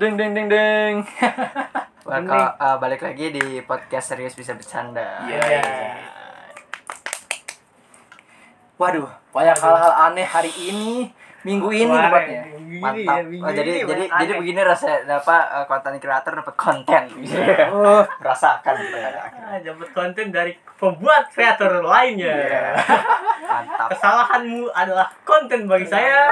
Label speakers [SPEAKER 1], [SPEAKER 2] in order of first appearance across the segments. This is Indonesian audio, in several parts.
[SPEAKER 1] Deng deng deng deng.
[SPEAKER 2] Welcome, eh, balik lagi di podcast serius bisa bercanda.
[SPEAKER 3] Iya.
[SPEAKER 2] Waduh, banyak hal-hal aneh hari ini, minggu ini
[SPEAKER 3] Wah,
[SPEAKER 2] tepatnya.
[SPEAKER 3] ini ya,
[SPEAKER 2] Mantap.
[SPEAKER 3] minggu
[SPEAKER 2] oh, jadi
[SPEAKER 3] ini
[SPEAKER 2] jadi
[SPEAKER 3] banyak
[SPEAKER 2] jadi
[SPEAKER 3] aneh.
[SPEAKER 2] begini rasanya apa eh, konten creator dapat konten.
[SPEAKER 3] Oh,
[SPEAKER 2] Rasakan gitu ya.
[SPEAKER 3] ah, dapat konten dari pembuat kreator lainnya.
[SPEAKER 2] Mantap.
[SPEAKER 3] Kesalahanmu adalah konten bagi saya.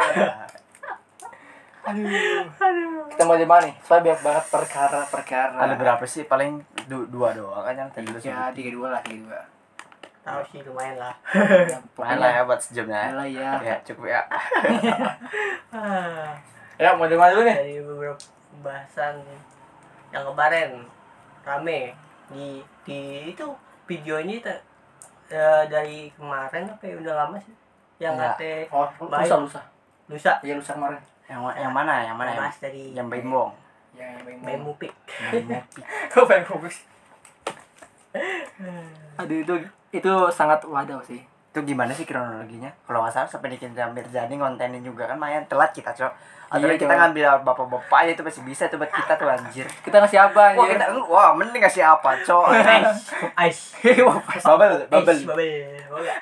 [SPEAKER 4] kita mau di mana nih? Soalnya banyak banget perkara-perkara.
[SPEAKER 2] Ada berapa sih? Paling du- dua doang kan yang tadi lu
[SPEAKER 4] Ya,
[SPEAKER 2] sebut.
[SPEAKER 4] tiga dua lah, tiga dua.
[SPEAKER 3] Tahu sih lumayan lah.
[SPEAKER 4] Ya,
[SPEAKER 2] Main
[SPEAKER 4] pokoknya
[SPEAKER 2] lah ya buat sejamnya.
[SPEAKER 4] lah ya.
[SPEAKER 2] Ya, cukup ya.
[SPEAKER 3] Ah,
[SPEAKER 4] Ya, mau di mana dulu nih?
[SPEAKER 3] dari beberapa pembahasan yang kemarin rame di di itu videonya itu eh, dari kemarin apa ya udah lama sih yang
[SPEAKER 2] Enggak.
[SPEAKER 3] kata
[SPEAKER 4] Oh,
[SPEAKER 3] Baik.
[SPEAKER 4] lusa lusa.
[SPEAKER 3] lusa
[SPEAKER 4] Iya lusa kemarin.
[SPEAKER 2] Yang, ma- yang mana? Yang mana? Yang,
[SPEAKER 3] mas dari
[SPEAKER 2] yang bimbong.
[SPEAKER 4] Ya, yang main
[SPEAKER 3] Memu Pick.
[SPEAKER 4] Kok main fokus? Aduh itu itu sangat wadaw sih.
[SPEAKER 2] itu gimana sih kronologinya kalau nggak salah sampai dikit hampir jadi kontenin juga kan main telat kita cok atau
[SPEAKER 4] Iya,
[SPEAKER 2] kita
[SPEAKER 4] Cok. Iya.
[SPEAKER 2] ngambil awal bapak-bapak aja itu masih bisa tuh buat kita tuh anjir
[SPEAKER 4] Kita ngasih apa
[SPEAKER 2] wah
[SPEAKER 4] anjir?
[SPEAKER 2] kita wah mending ngasih apa cok
[SPEAKER 3] Ice, ice,
[SPEAKER 2] bubble bubble
[SPEAKER 3] ice, bubble, bubble.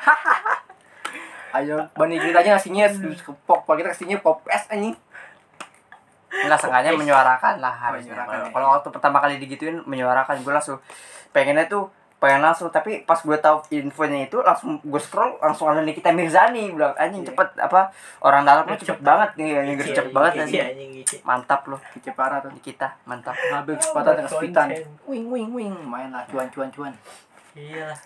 [SPEAKER 4] Ayo, banding ceritanya ngasihnya ke pop, kalau kita ngasihnya pop es anjing.
[SPEAKER 2] nggak sengaja menyuarakan lah harusnya
[SPEAKER 4] Menyuarakan, ya.
[SPEAKER 2] kalau kalau waktu pertama kali digituin menyuarakan gue langsung pengennya tuh pengen langsung tapi pas gue tahu infonya itu langsung gue scroll langsung ada Nikita Mirzani bilang anjing
[SPEAKER 4] Iya.
[SPEAKER 2] cepet apa orang dalam lu cepet banget nih yang
[SPEAKER 3] Iya,
[SPEAKER 2] cepet
[SPEAKER 3] iya,
[SPEAKER 2] banget
[SPEAKER 3] iya,
[SPEAKER 2] anjing.
[SPEAKER 3] iya, anjing, iya.
[SPEAKER 2] mantap loh
[SPEAKER 4] Kece parah tuh.
[SPEAKER 2] Nikita mantap
[SPEAKER 4] Ngambil kesempatan dengan sepitan.
[SPEAKER 3] Konten.
[SPEAKER 4] Wing wing wing, main lah cuan cuan cuan.
[SPEAKER 3] Iya lah.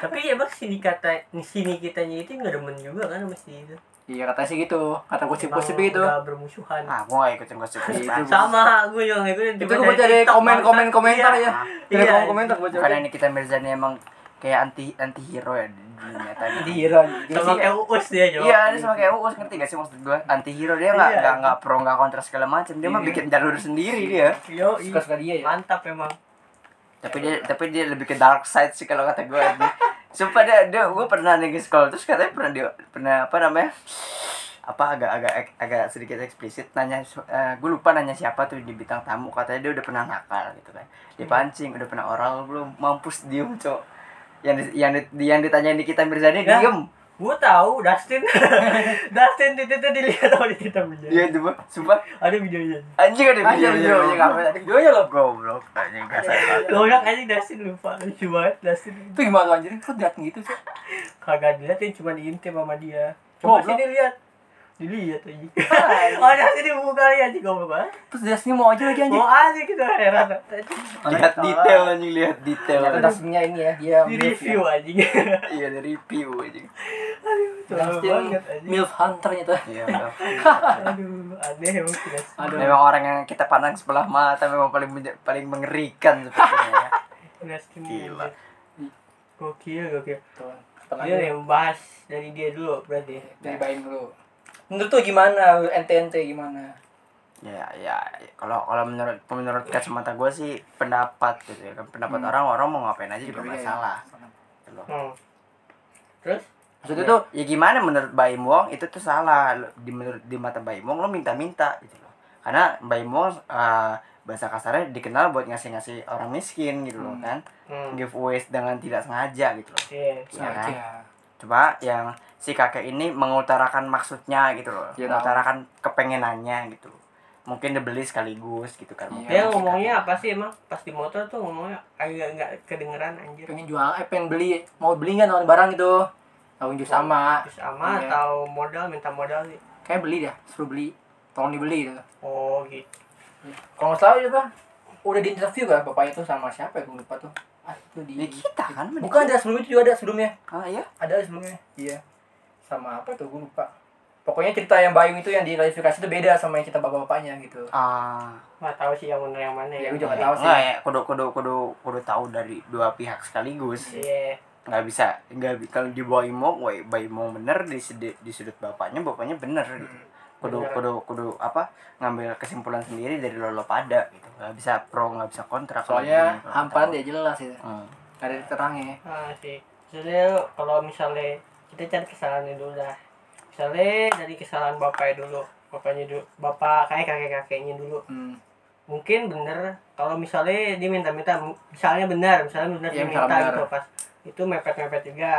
[SPEAKER 3] Tapi ya bak sini kata sini kitanya itu nggak demen juga kan mesti itu.
[SPEAKER 4] Iya katanya sih gitu, kata gosip-gosip
[SPEAKER 3] Emang
[SPEAKER 4] gitu.
[SPEAKER 3] udah bermusuhan.
[SPEAKER 2] ah gue gak ikutin gosip-gosip
[SPEAKER 4] Itu
[SPEAKER 3] Sama gue juga ngikutin.
[SPEAKER 4] Itu
[SPEAKER 3] cuma
[SPEAKER 4] gue baca dari
[SPEAKER 3] TikTok,
[SPEAKER 4] komen-komen
[SPEAKER 3] bangsat.
[SPEAKER 4] komentar ya. Dari
[SPEAKER 3] Iya.
[SPEAKER 4] komen komentar gue baca.
[SPEAKER 2] Bukannya Nikita Mirzani emang kayak anti anti hero ya di dunia tadi.
[SPEAKER 4] Jadi hero
[SPEAKER 3] Iya. Sama kayak uus dia jawab.
[SPEAKER 2] Iya, dia sama kayak Uus ngerti gak sih maksud gue? Anti hero dia nggak
[SPEAKER 3] Iya.
[SPEAKER 2] nggak nggak pro nggak kontra segala macam. Dia mah
[SPEAKER 4] Iya.
[SPEAKER 2] bikin jalur sendiri dia.
[SPEAKER 3] Yo,
[SPEAKER 4] suka suka dia ya.
[SPEAKER 3] mantap emang.
[SPEAKER 2] Tapi dia tapi dia lebih ke dark side sih kalau kata gue. Sumpah dia dia gue pernah nih sekolah terus katanya pernah dia pernah apa namanya? apa agak-agak agak sedikit eksplisit nanya gue lupa nanya siapa tuh di bintang tamu katanya dia udah pernah nakal gitu kan dipancing udah pernah oral belum mampus diem cok yang di- yang di- yang ditanyain di kita Mirzani
[SPEAKER 3] Ya.
[SPEAKER 2] diem
[SPEAKER 3] Gue tahu Dustin. Dustin itu itu dilihat sama di kita
[SPEAKER 2] Iya
[SPEAKER 3] videonya.
[SPEAKER 2] coba, sumpah
[SPEAKER 3] Ada videonya.
[SPEAKER 2] anjing ada
[SPEAKER 4] Anjing,
[SPEAKER 2] video
[SPEAKER 4] iya,
[SPEAKER 2] video
[SPEAKER 4] iya.
[SPEAKER 2] kamu ada videonya loh goblok anjing kasar
[SPEAKER 3] Lo orang anjing Dustin lupa lucu banget Dustin.
[SPEAKER 4] Itu gimana tuh anjir? Kok lihat gitu sih?
[SPEAKER 3] kagak diliatin cuma diintip sama dia coba
[SPEAKER 4] Goblok.
[SPEAKER 3] sini lihat dilihat aja oh ada sini buka lihat sih goblok banget
[SPEAKER 4] Terus jasnya mau aja lagi anjir.
[SPEAKER 3] mau aja kita heran
[SPEAKER 2] lihat detail anjing lihat detail
[SPEAKER 4] Ternyata dasnya ini ya, dia
[SPEAKER 3] di
[SPEAKER 4] milf ya.
[SPEAKER 3] review anjing
[SPEAKER 2] iya dari review anjing
[SPEAKER 3] Coba
[SPEAKER 4] Dustin
[SPEAKER 3] banget anjing
[SPEAKER 4] milf hunternya tuh.
[SPEAKER 2] iya udah.
[SPEAKER 3] aduh aneh emang kita
[SPEAKER 4] Aduh.
[SPEAKER 2] memang orang yang kita pandang sebelah mata memang paling menje- paling mengerikan sepertinya ya.
[SPEAKER 3] Dustin
[SPEAKER 2] Gila.
[SPEAKER 3] gokil gokil
[SPEAKER 4] Tuh,
[SPEAKER 3] dia Ya.
[SPEAKER 4] Tengahnya
[SPEAKER 3] yang bahas dari dia dulu berarti
[SPEAKER 4] Iya, dari bayin dulu. Menurut tuh gimana? Ente ente gimana?
[SPEAKER 2] ya ya kalau kalau menurut menurut kacamata gue sih pendapat gitu ya kan pendapat
[SPEAKER 4] Hmm.
[SPEAKER 2] orang orang mau ngapain aja juga
[SPEAKER 4] Iya, iya.
[SPEAKER 2] masalah gitu loh.
[SPEAKER 3] hmm. terus
[SPEAKER 4] Maksudnya
[SPEAKER 2] Ya.
[SPEAKER 4] tuh
[SPEAKER 2] ya gimana menurut Baim Wong itu tuh salah Lo- di menurut di mata Baim Wong lo minta-minta gitu loh karena Baim Wong eh, bahasa kasarnya dikenal buat ngasih-ngasih orang miskin gitu loh
[SPEAKER 4] Hmm.
[SPEAKER 2] kan
[SPEAKER 3] hmm.
[SPEAKER 2] giveaways dengan tidak sengaja gitu loh
[SPEAKER 3] Iya.
[SPEAKER 2] ya kan?
[SPEAKER 4] sengaja.
[SPEAKER 2] coba yang si kakek ini mengutarakan maksudnya gitu loh
[SPEAKER 4] Iya, tahu.
[SPEAKER 2] mengutarakan kepengenannya gitu mungkin dibeli sekaligus gitu kan mungkin
[SPEAKER 4] Iya.
[SPEAKER 3] Dia
[SPEAKER 2] si
[SPEAKER 3] ngomongnya
[SPEAKER 2] kakek.
[SPEAKER 3] apa sih emang pas di motor tuh ngomongnya agak nggak kedengeran anjir.
[SPEAKER 4] Pengen jual, eh pengen beli, mau beli nggak nawarin barang gitu? Nawarin juga sama.
[SPEAKER 3] sama
[SPEAKER 4] Iya.
[SPEAKER 3] atau modal minta modal sih.
[SPEAKER 4] Kayak beli dah, suruh beli. Tolong dibeli gitu.
[SPEAKER 3] Oh gitu.
[SPEAKER 4] Kalau nggak salah juga udah di interview kan bapak itu sama siapa ya? Gue lupa tuh. Ah, itu di.
[SPEAKER 2] ya kita kan men-
[SPEAKER 4] Bukan ada sebelumnya juga ada sebelumnya.
[SPEAKER 2] ah ya
[SPEAKER 4] Ada sebelumnya. Iya. Sama apa tuh? Gue lupa. Pokoknya cerita yang Bayu itu yang diklarifikasi itu beda sama yang cerita bapak-bapaknya gitu.
[SPEAKER 2] ah
[SPEAKER 3] Nggak tahu sih yang bener yang mana
[SPEAKER 4] Ya,
[SPEAKER 3] ya.
[SPEAKER 4] gua juga
[SPEAKER 3] Iya.
[SPEAKER 4] tahu sih.
[SPEAKER 2] enggak ya kudu kudu kudu kudu tahu dari dua pihak sekaligus
[SPEAKER 3] Iya.
[SPEAKER 2] nggak bisa nggak bi- kalau di bawah imong woi bayi imong bener di sudut di sudut bapaknya bapaknya bener gitu kudu
[SPEAKER 3] Bener.
[SPEAKER 2] kudu kudu apa ngambil kesimpulan sendiri dari lolo pada gitu nggak bisa pro nggak bisa kontra kalau
[SPEAKER 4] Soalnya
[SPEAKER 2] begini, kalau
[SPEAKER 4] hamparan
[SPEAKER 2] kata
[SPEAKER 4] dia jelas itu.
[SPEAKER 2] gua. Hmm.
[SPEAKER 4] Gak ada terangnya.
[SPEAKER 3] Ah sih. Maksudnya kalau misalnya kita cari kesalahannya dulu dah. Misalnya dari kesalahan bapaknya dulu, bapaknya dulu, bapak kayak kakek kakeknya dulu.
[SPEAKER 4] Hmm.
[SPEAKER 3] mungkin bener kalau misalnya dia minta-minta misalnya benar misalnya benar
[SPEAKER 4] Iya,
[SPEAKER 3] dia
[SPEAKER 4] misalnya
[SPEAKER 3] minta
[SPEAKER 4] benar.
[SPEAKER 3] gitu pas itu mepet-mepet juga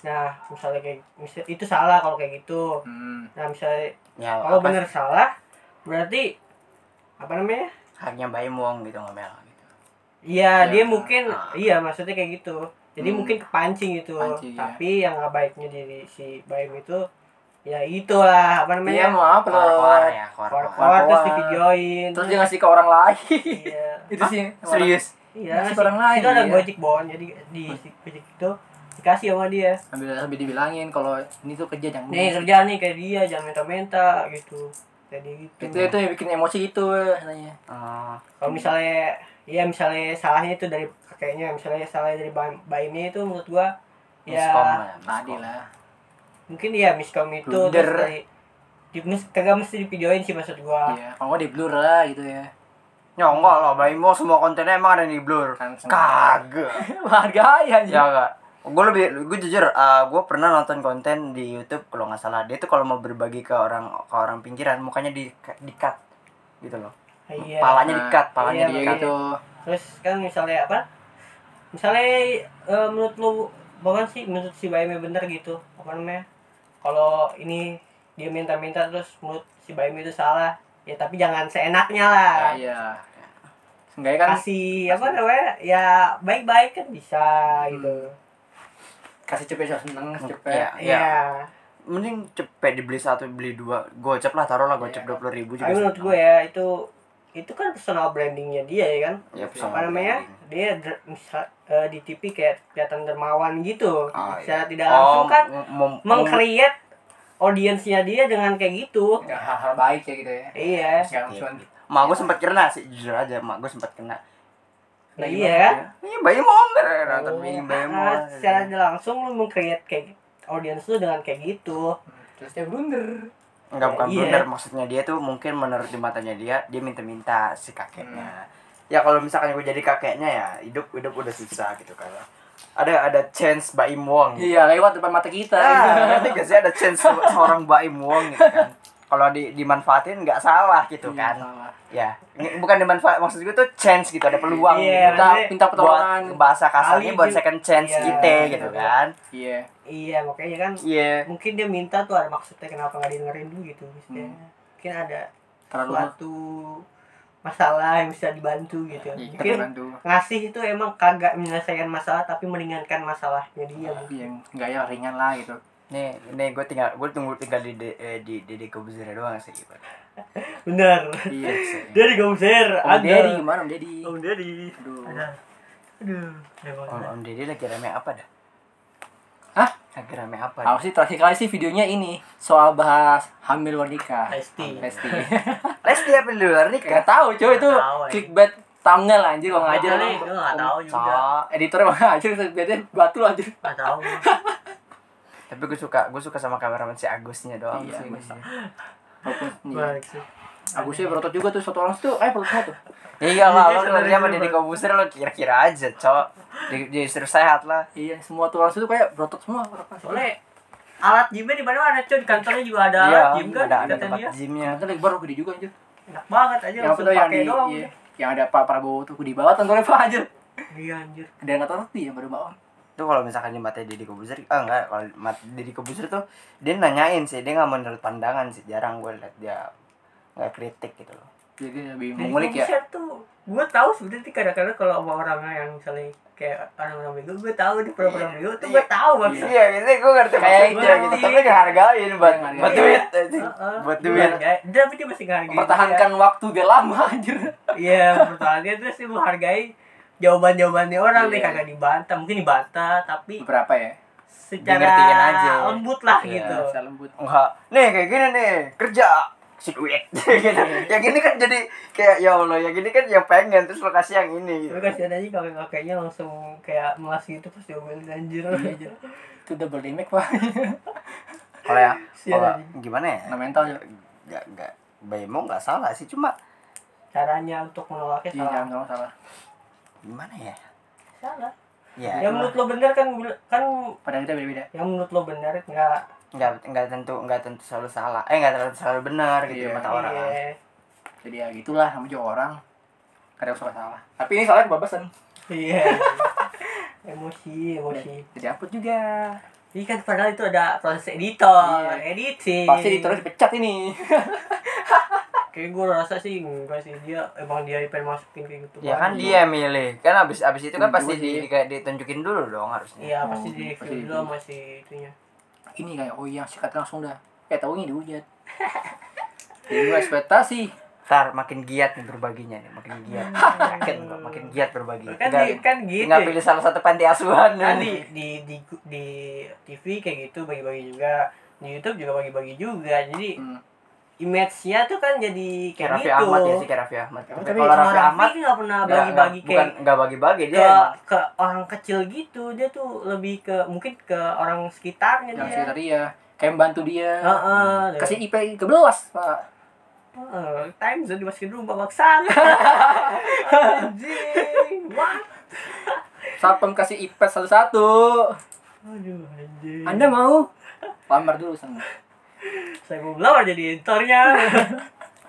[SPEAKER 3] nah misalnya kayak misal, itu salah kalau kayak gitu
[SPEAKER 4] Hmm.
[SPEAKER 3] nah misalnya
[SPEAKER 2] ya apa
[SPEAKER 3] kalau Oh, bener salah berarti apa namanya
[SPEAKER 2] haknya bayi muang gitu ngomel gitu
[SPEAKER 4] Ya.
[SPEAKER 3] Iya, dia mungkin
[SPEAKER 2] Ah.
[SPEAKER 3] iya maksudnya kayak gitu. Jadi
[SPEAKER 4] Hmm.
[SPEAKER 3] mungkin kepancing gitu.
[SPEAKER 4] Kepancing, ya.
[SPEAKER 3] Tapi yang nggak baiknya dari si Baim itu ya itulah apa
[SPEAKER 4] Dia
[SPEAKER 3] namanya?
[SPEAKER 4] Iya, mau upload.
[SPEAKER 2] keluar ya keluar keluar
[SPEAKER 3] Keluar-keluar terus
[SPEAKER 4] Keluar.
[SPEAKER 3] di videoin.
[SPEAKER 4] Terus dia ngasih ke orang lain.
[SPEAKER 3] Iya.
[SPEAKER 4] Itu sih. yang orang-
[SPEAKER 2] serius
[SPEAKER 3] Iya,
[SPEAKER 4] Masih
[SPEAKER 3] ngasih-
[SPEAKER 4] orang lain,
[SPEAKER 3] Itu ada
[SPEAKER 4] iya.
[SPEAKER 3] Gojek Bon. Jadi di si Gojek itu dikasih sama dia.
[SPEAKER 4] Ambil ambil dibilangin kalau ini tuh kerja jangan.
[SPEAKER 3] Nih kerjaan nih kayak dia jangan minta-minta gitu. Jadi gitu.
[SPEAKER 4] itu ya. itu yang bikin emosi itu katanya.
[SPEAKER 2] oh,
[SPEAKER 3] Kalau misalnya ya misalnya salahnya itu dari kakeknya, misalnya salahnya dari Baim- Baimnya itu menurut gua ya
[SPEAKER 2] miskom ya, miskom.
[SPEAKER 4] Tadi lah.
[SPEAKER 3] mungkin ya miskom itu
[SPEAKER 4] Blunder.
[SPEAKER 3] terus dari di, mis, kagak mesti divideoin sih maksud gua
[SPEAKER 4] Iya, kalau nggak di blur lah gitu ya.
[SPEAKER 2] nyongol lah bayi muang semua kontennya emang ada di blur
[SPEAKER 4] Kan
[SPEAKER 2] kagak
[SPEAKER 4] Harga ya anjing.
[SPEAKER 2] ya enggak gue lebih gue jujur gue pernah nonton konten di YouTube kalau nggak salah dia tuh kalau mau berbagi ke orang ke orang pinggiran mukanya di di cut gitu loh
[SPEAKER 3] Ah, iya
[SPEAKER 2] palanya di cut
[SPEAKER 4] Palanya
[SPEAKER 2] palanya di
[SPEAKER 4] dia
[SPEAKER 2] cut
[SPEAKER 4] gitu.
[SPEAKER 3] terus kan misalnya apa misalnya eh, menurut lu bukan sih menurut si Baime bener gitu apa namanya kalau ini dia minta-minta terus menurut si Baime itu salah ya tapi jangan seenaknya lah
[SPEAKER 4] Ah, Iya. Enggak
[SPEAKER 3] iya
[SPEAKER 4] kan
[SPEAKER 3] kasih apa namanya ya baik-baik kan bisa gitu
[SPEAKER 4] kasih cepet so seneng kasih cepet.
[SPEAKER 2] Iya.
[SPEAKER 3] Iya.
[SPEAKER 2] mending cepet dibeli satu beli dua gocap lah taruh lah
[SPEAKER 4] Iya.
[SPEAKER 2] gocap dua puluh ribu juga
[SPEAKER 3] tapi menurut gue ya itu itu kan personal brandingnya dia ya kan
[SPEAKER 2] ya,
[SPEAKER 3] apa namanya dia der- misal eh, di TV kayak kelihatan dermawan gitu
[SPEAKER 2] Oh,
[SPEAKER 3] secara tidak langsung kan
[SPEAKER 2] mengkritik
[SPEAKER 3] meng-create audiensnya dia dengan kayak gitu
[SPEAKER 4] Nggak hal-hal baik ya gitu ya.
[SPEAKER 3] iya
[SPEAKER 4] Nggak langsung.
[SPEAKER 2] mak gue sempat kena sih jujur aja mak gue sempat kena
[SPEAKER 3] Nah,
[SPEAKER 4] Lagi
[SPEAKER 3] iya kan
[SPEAKER 2] iya bayi mau nggak nonton
[SPEAKER 4] Oh,
[SPEAKER 2] bayi bayi mau
[SPEAKER 3] Nah, secara tidak langsung lu meng-create kayak audiens lu dengan kayak gitu
[SPEAKER 4] Terus dia blunder.
[SPEAKER 2] Enggak bukan
[SPEAKER 3] Iya.
[SPEAKER 2] blunder maksudnya dia tuh mungkin menurut di matanya dia dia minta-minta si kakeknya.
[SPEAKER 3] Hmm.
[SPEAKER 2] Ya kalau misalkan gue jadi kakeknya ya hidup hidup udah susah gitu kan. Ada ada chance Baim
[SPEAKER 3] Hmm.
[SPEAKER 2] Wong. Gitu.
[SPEAKER 4] Iya, lewat depan mata kita.
[SPEAKER 3] Nah.
[SPEAKER 4] Iya.
[SPEAKER 2] Ah, ngerti gak sih ada chance se- seorang Baim Wong gitu kan. Kalau di, dimanfaatin nggak salah gitu
[SPEAKER 4] Iya,
[SPEAKER 2] kan.
[SPEAKER 4] salah.
[SPEAKER 2] Ya, Nge- bukan dimanfaat maksud gue tuh chance gitu ada peluang gitu.
[SPEAKER 3] Iya,
[SPEAKER 4] Minta
[SPEAKER 3] Maksudnya,
[SPEAKER 4] minta pertolongan.
[SPEAKER 2] Buat bahasa kasarnya
[SPEAKER 3] Kali
[SPEAKER 2] buat
[SPEAKER 3] juga.
[SPEAKER 2] second chance
[SPEAKER 3] Iya.
[SPEAKER 2] kita gitu kan.
[SPEAKER 4] Iya.
[SPEAKER 3] iya makanya kan
[SPEAKER 2] Iya.
[SPEAKER 3] mungkin dia minta tuh ada maksudnya kenapa nggak dengerin dulu gitu maksudnya
[SPEAKER 4] Hmm.
[SPEAKER 3] mungkin ada
[SPEAKER 4] Terlalu
[SPEAKER 3] suatu masalah yang bisa dibantu gitu
[SPEAKER 4] Iya, kita
[SPEAKER 3] mungkin
[SPEAKER 4] bantu.
[SPEAKER 3] ngasih itu emang kagak menyelesaikan masalah tapi meringankan masalahnya dia mungkin.
[SPEAKER 4] Yang enggak ya ringan lah gitu.
[SPEAKER 2] Nih, nih gue tinggal gue tunggu tinggal di di eh, di, di, di Corbuzier doang sih gitu.
[SPEAKER 3] bener
[SPEAKER 4] Iya.
[SPEAKER 3] dari Gomser
[SPEAKER 4] Om Deddy gimana Om Deddy?
[SPEAKER 3] Er. Om Deddy
[SPEAKER 4] Aduh.
[SPEAKER 3] Ada. aduh Ya, emang
[SPEAKER 2] Om, Om Deddy lagi rame apa dah?
[SPEAKER 4] Hah?
[SPEAKER 2] Lagi rame
[SPEAKER 3] iya.
[SPEAKER 2] apa?
[SPEAKER 4] Apa sih terakhir kali sih videonya ini soal bahas hamil luar nikah.
[SPEAKER 3] Lesti.
[SPEAKER 4] Lesti.
[SPEAKER 2] Lesti apa di luar nikah?
[SPEAKER 4] Gak tahu cuy itu
[SPEAKER 3] Nggak tahu, eh.
[SPEAKER 4] clickbait thumbnail anjir gua ngajar
[SPEAKER 3] nih gue nggak tahu juga
[SPEAKER 2] Cok.
[SPEAKER 4] Editornya mah anjir clickbaitnya batu anjir.
[SPEAKER 3] nggak tahu
[SPEAKER 2] Tapi gue suka, gue suka sama kameramen si Agusnya doang
[SPEAKER 4] Iya,
[SPEAKER 2] sih.
[SPEAKER 4] Agus. Walaupun nih,
[SPEAKER 3] Baik sih.
[SPEAKER 4] Agusnya berotot juga tuh satu orang tuh, eh perutnya tuh.
[SPEAKER 2] Iya
[SPEAKER 3] Iya,
[SPEAKER 2] lah, lo
[SPEAKER 3] sebenarnya
[SPEAKER 2] kerja sama
[SPEAKER 3] juga.
[SPEAKER 2] Deddy Corbuzier lo kira-kira aja, cok. Jadi jadi suruh sehat lah.
[SPEAKER 4] Iya, semua tuh orang tuh kayak berotot semua.
[SPEAKER 3] soalnya alat gymnya di mana mana cuy di kantornya juga ada alat
[SPEAKER 2] Iya,
[SPEAKER 3] gym kan
[SPEAKER 2] ada ada
[SPEAKER 3] kata dia
[SPEAKER 2] tempat gymnya.
[SPEAKER 4] Ternyata lebar gede juga anjir.
[SPEAKER 3] enak banget aja
[SPEAKER 4] Yang apa
[SPEAKER 3] langsung
[SPEAKER 4] tuh yang
[SPEAKER 3] pakai
[SPEAKER 4] di
[SPEAKER 3] doang
[SPEAKER 4] iya, yang ada Pak Prabowo tuh gede banget tentunya Pak anjir.
[SPEAKER 3] iya anjir
[SPEAKER 4] Gede enggak tahu yang baru Iya, bawah.
[SPEAKER 2] Itu kalau misalkan di mata Deddy Corbuzier, ah enggak, kalau di mata Deddy Corbuzier tuh dia nanyain sih, dia nggak menurut pandangan sih, jarang gue liat dia nggak kritik gitu loh.
[SPEAKER 4] Jadi lebih
[SPEAKER 3] Jadi
[SPEAKER 4] mengulik ya.
[SPEAKER 3] Komisar tuh gue tahu sebenarnya kadang-kadang kalau sama orang yang misalnya kayak orang-orang bego gue tahu di program bego tuh gue tahu banget
[SPEAKER 2] Iya, ini gue ngerti maksudnya
[SPEAKER 3] gitu.
[SPEAKER 2] gitu. Tapi ngehargain buat
[SPEAKER 4] Iya,
[SPEAKER 2] buat
[SPEAKER 4] ngehargain.
[SPEAKER 2] duit. anjing.
[SPEAKER 3] Heeh.
[SPEAKER 2] Buat
[SPEAKER 3] Dia
[SPEAKER 2] duit.
[SPEAKER 3] menghargai- dia- tapi dia masih ngehargai
[SPEAKER 4] Mempertahankan
[SPEAKER 3] Iya.
[SPEAKER 4] waktu biar lama anjir.
[SPEAKER 3] dia. iya mempertahankan terus dia menghargai jawaban jawabannya orang
[SPEAKER 4] Iya.
[SPEAKER 3] deh kagak dibantah mungkin dibantah tapi
[SPEAKER 4] Beberapa ya?
[SPEAKER 2] Dingertiin
[SPEAKER 3] secara
[SPEAKER 2] aja.
[SPEAKER 3] lembut lah
[SPEAKER 2] Iya.
[SPEAKER 3] gitu
[SPEAKER 4] Bisa lembut.
[SPEAKER 2] Enggak. Nih kayak gini nih, kerja si duit. gitu. Yang ini kan jadi kayak ya Allah, yang ini kan yang pengen terus lo kasih yang ini gitu.
[SPEAKER 3] tapi kan kasihan aja kakek kakeknya langsung kayak melas gitu pas diomelin anjir Iya, anjir
[SPEAKER 4] Itu double remake Pak.
[SPEAKER 2] Kalau ya,
[SPEAKER 3] Kasihan
[SPEAKER 2] kalau
[SPEAKER 3] aja.
[SPEAKER 2] gimana ya?
[SPEAKER 4] Kena mental ya.
[SPEAKER 2] Enggak enggak Baymo nggak salah sih, cuma
[SPEAKER 3] caranya untuk menolaknya
[SPEAKER 4] Iya,
[SPEAKER 3] salah
[SPEAKER 4] jangan jangan salah.
[SPEAKER 2] gimana ya?
[SPEAKER 3] salah
[SPEAKER 4] Iya,
[SPEAKER 2] Ya,
[SPEAKER 3] yang menurut lo bener kan bil- kan
[SPEAKER 4] Padahal kita beda-beda.
[SPEAKER 3] yang menurut lo benar nggak
[SPEAKER 2] nggak nggak tentu nggak tentu selalu salah. Eh nggak tentu selalu benar gitu di
[SPEAKER 4] Iya.
[SPEAKER 2] mata orang.
[SPEAKER 3] iya.
[SPEAKER 4] Jadi ya gitulah sama juga orang. kadang suka salah tapi ini salah kebabasan
[SPEAKER 3] Iya. emosi, emosi.
[SPEAKER 4] Iya. jadi upload juga
[SPEAKER 3] Iya kan padahal itu ada proses editor,
[SPEAKER 4] Iya.
[SPEAKER 3] editing.
[SPEAKER 4] pasti editornya dipecat ini
[SPEAKER 3] Kayak gue rasa sih enggak sih dia emang dia pengen masukin kayak gitu.
[SPEAKER 2] Ya kan
[SPEAKER 3] Iya.
[SPEAKER 2] dia milih. Kan abis abis itu kan
[SPEAKER 4] Iya
[SPEAKER 2] pasti
[SPEAKER 4] juga
[SPEAKER 2] di,
[SPEAKER 4] sih.
[SPEAKER 2] di- kayak ditunjukin dulu dong harusnya.
[SPEAKER 3] Iya pasti
[SPEAKER 4] Oh,
[SPEAKER 3] di
[SPEAKER 4] pasti
[SPEAKER 3] review
[SPEAKER 4] di-
[SPEAKER 3] dulu masih itunya.
[SPEAKER 4] ini kayak oh iya sikat langsung dah kayak tahu ini dihujat jadi gue ekspektasi
[SPEAKER 2] Ntar makin giat nih berbaginya nih, makin giat. Yakin gua, makin giat berbagi.
[SPEAKER 4] Iya.
[SPEAKER 3] Hmm. Kan
[SPEAKER 2] Tinggal,
[SPEAKER 3] di- kan gitu.
[SPEAKER 2] tinggal pilih salah satu panti asuhan
[SPEAKER 3] Kan
[SPEAKER 2] nih.
[SPEAKER 3] di, di di di TV kayak gitu bagi-bagi juga di YouTube juga bagi-bagi juga jadi
[SPEAKER 4] hmm.
[SPEAKER 3] image-nya tuh kan jadi
[SPEAKER 2] Kayak
[SPEAKER 3] kayak
[SPEAKER 2] Raffi
[SPEAKER 3] gitu.
[SPEAKER 2] Ahmad ya sih, kayak Raffi Ahmad.
[SPEAKER 3] Tapi,
[SPEAKER 2] Tapi
[SPEAKER 3] kalau Raffi
[SPEAKER 2] Ahmad
[SPEAKER 3] nggak pernah
[SPEAKER 2] nggak-
[SPEAKER 3] bagi-bagi
[SPEAKER 2] nggak-
[SPEAKER 3] kayak
[SPEAKER 2] bukan nggak bagi-bagi dia.
[SPEAKER 3] ke
[SPEAKER 2] emang.
[SPEAKER 3] ke orang kecil gitu dia tuh lebih ke mungkin ke orang sekitarnya
[SPEAKER 4] yang
[SPEAKER 3] dia.
[SPEAKER 4] sekitar dia kayak membantu dia
[SPEAKER 3] Heeh,
[SPEAKER 2] Hmm.
[SPEAKER 3] dia-
[SPEAKER 4] kasih IP 11 pak
[SPEAKER 3] Heeh, Eh, time zone dimasukin rumah maksaan. anjing. Wah.
[SPEAKER 4] satpam kasih IP satu satu
[SPEAKER 3] Aduh, anjing.
[SPEAKER 4] anda mau lamar dulu sama
[SPEAKER 3] saya mau ngelamar jadi editornya.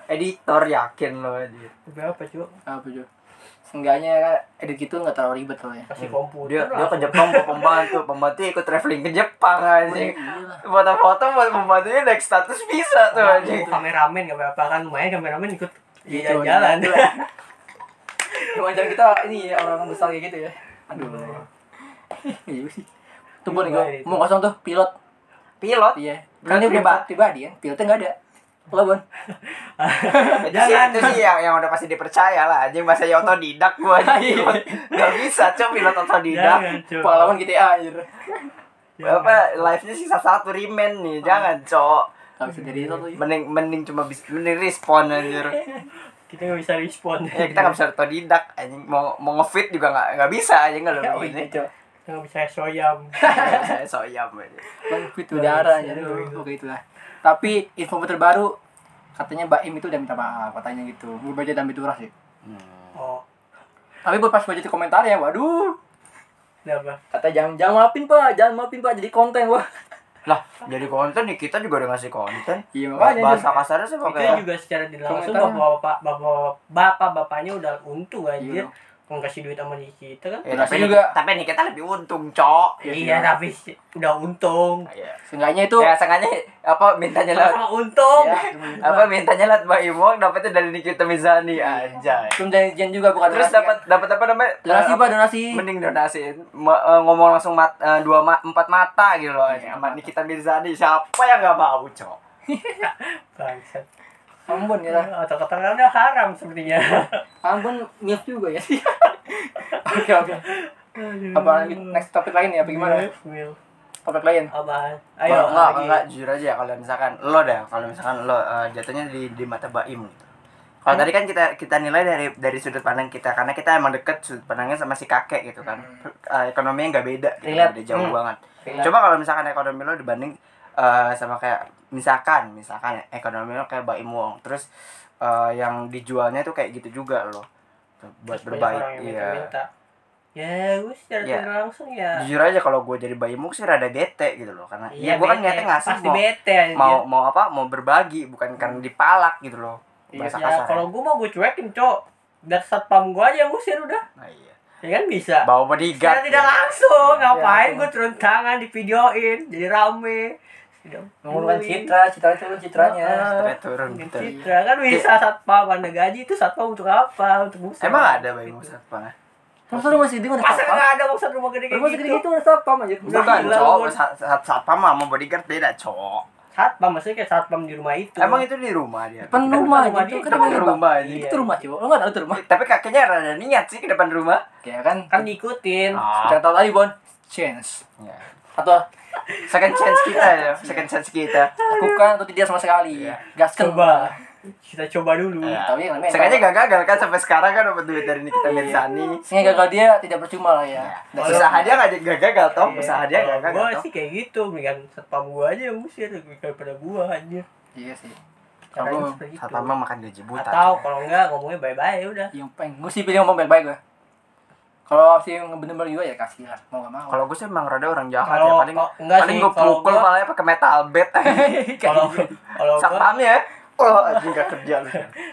[SPEAKER 2] Editor yakin loh dia.
[SPEAKER 3] Berapa, Cuk?
[SPEAKER 4] apa tuh Seenggaknya edit gitu nggak terlalu ribet lah ya
[SPEAKER 3] Kasih
[SPEAKER 2] Dia
[SPEAKER 3] komputer.
[SPEAKER 2] Hmm. dia ke Jepang buat pembantu, pembantu ikut traveling ke
[SPEAKER 3] Oh,
[SPEAKER 2] Jepang anjing.
[SPEAKER 4] Gila.
[SPEAKER 3] iya.
[SPEAKER 2] Foto-foto buat pembantunya naik status bisa
[SPEAKER 3] Nah,
[SPEAKER 2] tuh anjing.
[SPEAKER 3] kameramen gak berapa kan lumayan kameramen ikut
[SPEAKER 4] Gitu,
[SPEAKER 2] Iya,
[SPEAKER 3] jalan jalan.
[SPEAKER 4] Wajar kita ini ya orang besar kayak gitu ya. Aduh. Iya sih. Tuh nih gua mau kosong tuh pilot.
[SPEAKER 2] Pilot.
[SPEAKER 4] Iya.
[SPEAKER 2] Pilot
[SPEAKER 4] Kan dia
[SPEAKER 2] pribadi.
[SPEAKER 4] pribadi, pribadi ya. Pilotnya enggak ada. Lo bon.
[SPEAKER 2] Itu sih, itu sih yang, yang udah pasti dipercaya lah anjing masa ya otodidak gua anjing. Gak bisa coba pilot otodidak.
[SPEAKER 3] Iya. Jangan, Cuk.
[SPEAKER 4] Pahlawan GTA gitu ya, anjir. Iya,
[SPEAKER 2] Apa live-nya sisa satu
[SPEAKER 4] Ah.
[SPEAKER 2] remain nih. Jangan, Cok.
[SPEAKER 4] Enggak bisa jadi itu tuh.
[SPEAKER 2] Mending mending cuma bis mending respon anjir.
[SPEAKER 3] Kita gak bisa respon.
[SPEAKER 2] Ya kita nggak bisa otodidak anjing mau mau ngefit juga nggak nggak bisa anjing kalau
[SPEAKER 4] Ya, oh
[SPEAKER 2] begini.
[SPEAKER 4] ini cok.
[SPEAKER 3] Kita nggak bisa soyam.
[SPEAKER 2] Saya soyam anjing.
[SPEAKER 4] Bang fit udara anjir. Oke itulah. Tapi info terbaru katanya Baim itu udah minta maaf katanya gitu. Gue baca dalam biturah sih.
[SPEAKER 2] Hmm.
[SPEAKER 3] Oh,
[SPEAKER 4] Tapi gue pas baca di komentar ya, waduh.
[SPEAKER 3] kenapa?
[SPEAKER 4] Kata jangan jangan maafin pak, jangan maafin pak jadi konten wah.
[SPEAKER 2] Lah, jadi konten nih kita juga udah ngasih konten.
[SPEAKER 4] Iya makanya.
[SPEAKER 2] Bahasa kasarnya sih
[SPEAKER 3] Itu
[SPEAKER 2] pakai
[SPEAKER 3] juga secara tidak langsung
[SPEAKER 4] Komentarnya.
[SPEAKER 3] bapak bapak bapak bapaknya udah untung
[SPEAKER 4] Iya.
[SPEAKER 3] aja. Ngasih duit sama di kita kan.
[SPEAKER 2] Ya,
[SPEAKER 4] Berasa
[SPEAKER 2] tapi juga.
[SPEAKER 4] juga.
[SPEAKER 2] tapi nih kita lebih untung, Cok.
[SPEAKER 4] Iya,
[SPEAKER 3] Iya,
[SPEAKER 4] iya.
[SPEAKER 3] tapi sih udah untung.
[SPEAKER 2] Iya.
[SPEAKER 4] Seenggaknya itu
[SPEAKER 2] Ya, sengaja apa mintanya lah
[SPEAKER 3] Sama untung.
[SPEAKER 2] Iya.
[SPEAKER 4] ya,
[SPEAKER 2] apa mintanya lah Mbak Imong dapetnya dari Nikita Mizani anjay.
[SPEAKER 4] belum janjian juga bukan donasi,
[SPEAKER 2] Terus
[SPEAKER 4] kan?
[SPEAKER 2] dapat dapat apa namanya?
[SPEAKER 4] donasi
[SPEAKER 2] Eh,
[SPEAKER 4] pak donasi
[SPEAKER 2] mending donasiin Ma- eh, ngomong langsung mat, eh, dua ma- empat mata gitu loh ini sama Nikita Mirzani siapa yang nggak mau cok
[SPEAKER 3] Bangsat.
[SPEAKER 4] Ambon ya
[SPEAKER 2] Iya.
[SPEAKER 4] lah.
[SPEAKER 3] Atau katakanlah haram sepertinya.
[SPEAKER 4] Ambon milf juga ya sih oke oke apa lagi next topik lain ya apa gimana
[SPEAKER 3] Will.
[SPEAKER 4] topik lain
[SPEAKER 3] Apaan?
[SPEAKER 2] ayo
[SPEAKER 3] Ayo,
[SPEAKER 2] enggak
[SPEAKER 3] lagi.
[SPEAKER 2] enggak jujur aja ya kalau misalkan lo dah kalau misalkan lo eh, jatuhnya di di mata Baim gitu kalau tadi kan kita kita nilai dari dari sudut pandang kita karena kita emang deket sudut pandangnya sama si kakek gitu kan Eh, ekonominya nggak beda gitu,
[SPEAKER 4] Relate.
[SPEAKER 2] beda jauh
[SPEAKER 4] Hmm.
[SPEAKER 2] banget
[SPEAKER 3] Iya.
[SPEAKER 4] Relate.
[SPEAKER 2] coba kalau misalkan ekonomi lo dibanding eh, sama kayak misalkan misalkan ya, ekonomi lo kayak Baim Wong terus eh, yang dijualnya tuh kayak gitu juga lo buat
[SPEAKER 3] Terus banyak orang
[SPEAKER 2] berbaik
[SPEAKER 3] yang
[SPEAKER 2] iya
[SPEAKER 3] minta-minta. Ya, gue secara
[SPEAKER 2] Iya.
[SPEAKER 3] tidak langsung ya. Iya,
[SPEAKER 2] jujur aja kalau gue jadi Baim Wong sih rada bete gitu loh karena ya, gue kan
[SPEAKER 3] bete.
[SPEAKER 2] niatnya ngasih
[SPEAKER 3] Pasti
[SPEAKER 2] mau-
[SPEAKER 3] bete iya. anjir.
[SPEAKER 2] mau mau apa mau berbagi bukan karena dipalak gitu loh
[SPEAKER 4] Iya,
[SPEAKER 2] bahasa
[SPEAKER 3] Ya,
[SPEAKER 2] kasar
[SPEAKER 3] kalau gue mau gue cuekin, Cok. Dari satpam gue aja yang usir udah.
[SPEAKER 2] nah, iya.
[SPEAKER 3] Ya kan bisa.
[SPEAKER 2] bawa bodyguard ya.
[SPEAKER 3] Secara tidak langsung.
[SPEAKER 4] Iya,
[SPEAKER 3] Ngapain
[SPEAKER 4] langsung.
[SPEAKER 3] gue turun tangan di videoin. Jadi rame.
[SPEAKER 4] mengurungkan
[SPEAKER 3] Iya.
[SPEAKER 4] citra citra itu kan citranya
[SPEAKER 2] Ternyata turun
[SPEAKER 3] Mungkin
[SPEAKER 2] gitu
[SPEAKER 3] Citra kan bisa satpam anda gaji itu satpam untuk apa? Untuk busa.
[SPEAKER 2] emang ada bayi musak pak
[SPEAKER 4] masa lu masih di mana
[SPEAKER 3] Masa
[SPEAKER 4] satpam
[SPEAKER 3] nggak ada maksud rumah gede
[SPEAKER 4] lu
[SPEAKER 3] kayak
[SPEAKER 4] masih
[SPEAKER 3] gitu?
[SPEAKER 4] gitu ada satpam aja
[SPEAKER 3] Udah
[SPEAKER 2] bukan
[SPEAKER 3] gila,
[SPEAKER 2] cowok
[SPEAKER 3] lu.
[SPEAKER 2] saat saat satpam sama bodyguard beda cowok
[SPEAKER 3] Satpam maksudnya kayak satpam di rumah itu.
[SPEAKER 2] emang itu di rumah dia
[SPEAKER 4] depan
[SPEAKER 2] Kita-
[SPEAKER 4] rumah
[SPEAKER 3] rumah ya.
[SPEAKER 4] aja
[SPEAKER 3] dia.
[SPEAKER 4] kan
[SPEAKER 2] Depan Iya, rumah iya. aja.
[SPEAKER 4] itu rumah coba lu nggak tahu itu rumah
[SPEAKER 2] tapi kakeknya rada niat sih ke depan rumah
[SPEAKER 4] ya kan
[SPEAKER 3] kan diikutin.
[SPEAKER 2] ah.
[SPEAKER 4] kita tahu tadi bon chance
[SPEAKER 2] ya.
[SPEAKER 3] Iya.
[SPEAKER 4] atau
[SPEAKER 2] second chance kita ya second chance kita
[SPEAKER 4] lakukan atau tidak sama sekali
[SPEAKER 2] Iya.
[SPEAKER 4] gaskan
[SPEAKER 3] Coba. Kita coba dulu.
[SPEAKER 2] Ya.
[SPEAKER 4] tapi yang namanya
[SPEAKER 2] Sengaja gak gagal kan sampai sekarang kan dapat duit dari
[SPEAKER 3] Iya.
[SPEAKER 2] Nikita Mirzani Nah,
[SPEAKER 4] Sehingga gagal dia tidak percuma lah
[SPEAKER 2] Iya.
[SPEAKER 4] ya. Dan susah
[SPEAKER 2] usaha dia gak gak gagal toh usaha dia gak
[SPEAKER 3] Gue
[SPEAKER 2] gagal toh
[SPEAKER 3] Iya. sih kayak gitu, mendingan satpam gue aja yang musir daripada gue aja.
[SPEAKER 4] Iya sih.
[SPEAKER 3] Caranya
[SPEAKER 4] Kalau
[SPEAKER 3] seperti itu.
[SPEAKER 2] satpam mah makan gaji buta
[SPEAKER 3] Atau
[SPEAKER 2] coy.
[SPEAKER 3] gitu. kalau enggak ngomongnya bye-bye udah.
[SPEAKER 4] yang pengen gue sih pilih ngomong baik-baik gue. Kalau sih yang bener-bener juga ya kasih lah mau gak mau.
[SPEAKER 2] Kalau gue sih emang rada orang jahat ya
[SPEAKER 3] Kalau
[SPEAKER 2] paling
[SPEAKER 3] kalau- enggak
[SPEAKER 2] paling
[SPEAKER 3] sih
[SPEAKER 2] gue
[SPEAKER 3] kalau
[SPEAKER 2] pukul
[SPEAKER 3] gua-
[SPEAKER 2] malah pakai metal bat.
[SPEAKER 3] gitu. kalau kalau gue
[SPEAKER 2] Satpam ya. Oh, anjing gak kerja lu.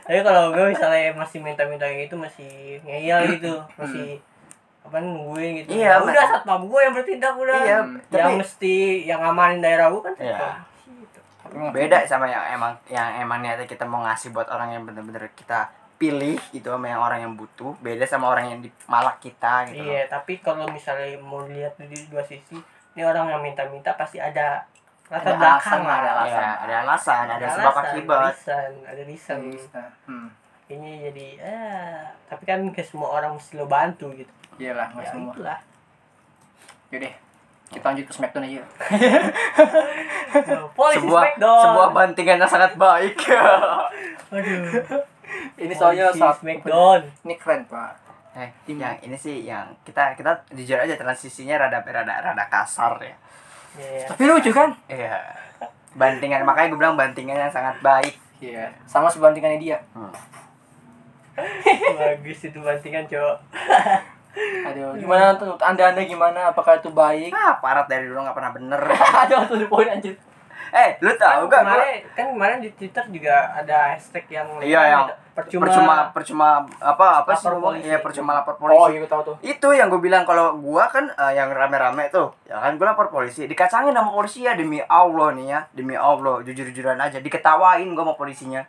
[SPEAKER 3] tapi kalau gue misalnya masih minta-minta kayak gitu masih ngeyel gitu masih apa nungguin gitu
[SPEAKER 2] Iya,
[SPEAKER 3] Ya udah satpam gue yang bertindak udah
[SPEAKER 2] Iya,
[SPEAKER 3] yang
[SPEAKER 2] tapi-
[SPEAKER 3] mesti yang amanin daerah gue kan
[SPEAKER 2] Iya.
[SPEAKER 3] satpam. Gitu.
[SPEAKER 2] Beda sama yang emang yang emang niatnya kita mau ngasih buat orang yang bener-bener kita pilih gitu sama yang orang yang butuh beda sama orang yang di malak kita gitu loh.
[SPEAKER 3] iya tapi kalau misalnya mau lihat dari dua sisi ini orang yang minta-minta pasti ada latar belakang lah
[SPEAKER 4] ada alasan.
[SPEAKER 2] Iya, ada alasan ada, sebab
[SPEAKER 3] alasan,
[SPEAKER 2] akibat
[SPEAKER 3] ada reason, ada reason.
[SPEAKER 4] Hmm.
[SPEAKER 3] ini jadi eh tapi kan ke semua orang mesti lo bantu gitu
[SPEAKER 4] Iyalah, nggak
[SPEAKER 3] ya
[SPEAKER 4] semua.
[SPEAKER 3] itulah
[SPEAKER 4] Yaudah, kita lanjut ke Smackdown aja.
[SPEAKER 3] polisi
[SPEAKER 2] sebuah
[SPEAKER 3] Smackdown.
[SPEAKER 2] sebuah bantingan yang sangat baik
[SPEAKER 3] aduh
[SPEAKER 4] Ini soalnya
[SPEAKER 3] Polisi
[SPEAKER 4] saat
[SPEAKER 3] Smackdown
[SPEAKER 4] Ini keren, Pak.
[SPEAKER 2] eh,
[SPEAKER 4] Tim.
[SPEAKER 2] yang ini sih yang kita kita jujur aja transisinya rada rada rada kasar ya
[SPEAKER 3] Iya,
[SPEAKER 4] Tapi lucu kan?
[SPEAKER 2] iya bantingan makanya gue bilang bantingan yang sangat baik
[SPEAKER 4] Iya. Sama sebandingannya dia.
[SPEAKER 3] iya. bagus itu bantingan cowok
[SPEAKER 4] Aduh, gimana tuh menurut anda-anda gimana? Apakah itu baik?
[SPEAKER 2] ah parat dari dulu nggak pernah bener
[SPEAKER 4] Aduh, tuh poin anjir.
[SPEAKER 2] eh lu tau gak gue
[SPEAKER 3] kemarin kan kemarin di Twitter juga ada hashtag yang
[SPEAKER 2] Iya, yang
[SPEAKER 3] percuma,
[SPEAKER 2] percuma percuma apa apa sih
[SPEAKER 3] Lapor
[SPEAKER 2] ngomong?
[SPEAKER 3] polisi.
[SPEAKER 2] Iya, percuma lapor polisi
[SPEAKER 4] Oh, iya gue tahu tuh.
[SPEAKER 2] itu yang gue bilang kalau gua kan eh, yang rame-rame tuh ya kan gua lapor polisi dikacangin sama polisi ya demi allah nih ya demi allah jujur-jujuran aja diketawain gua sama polisinya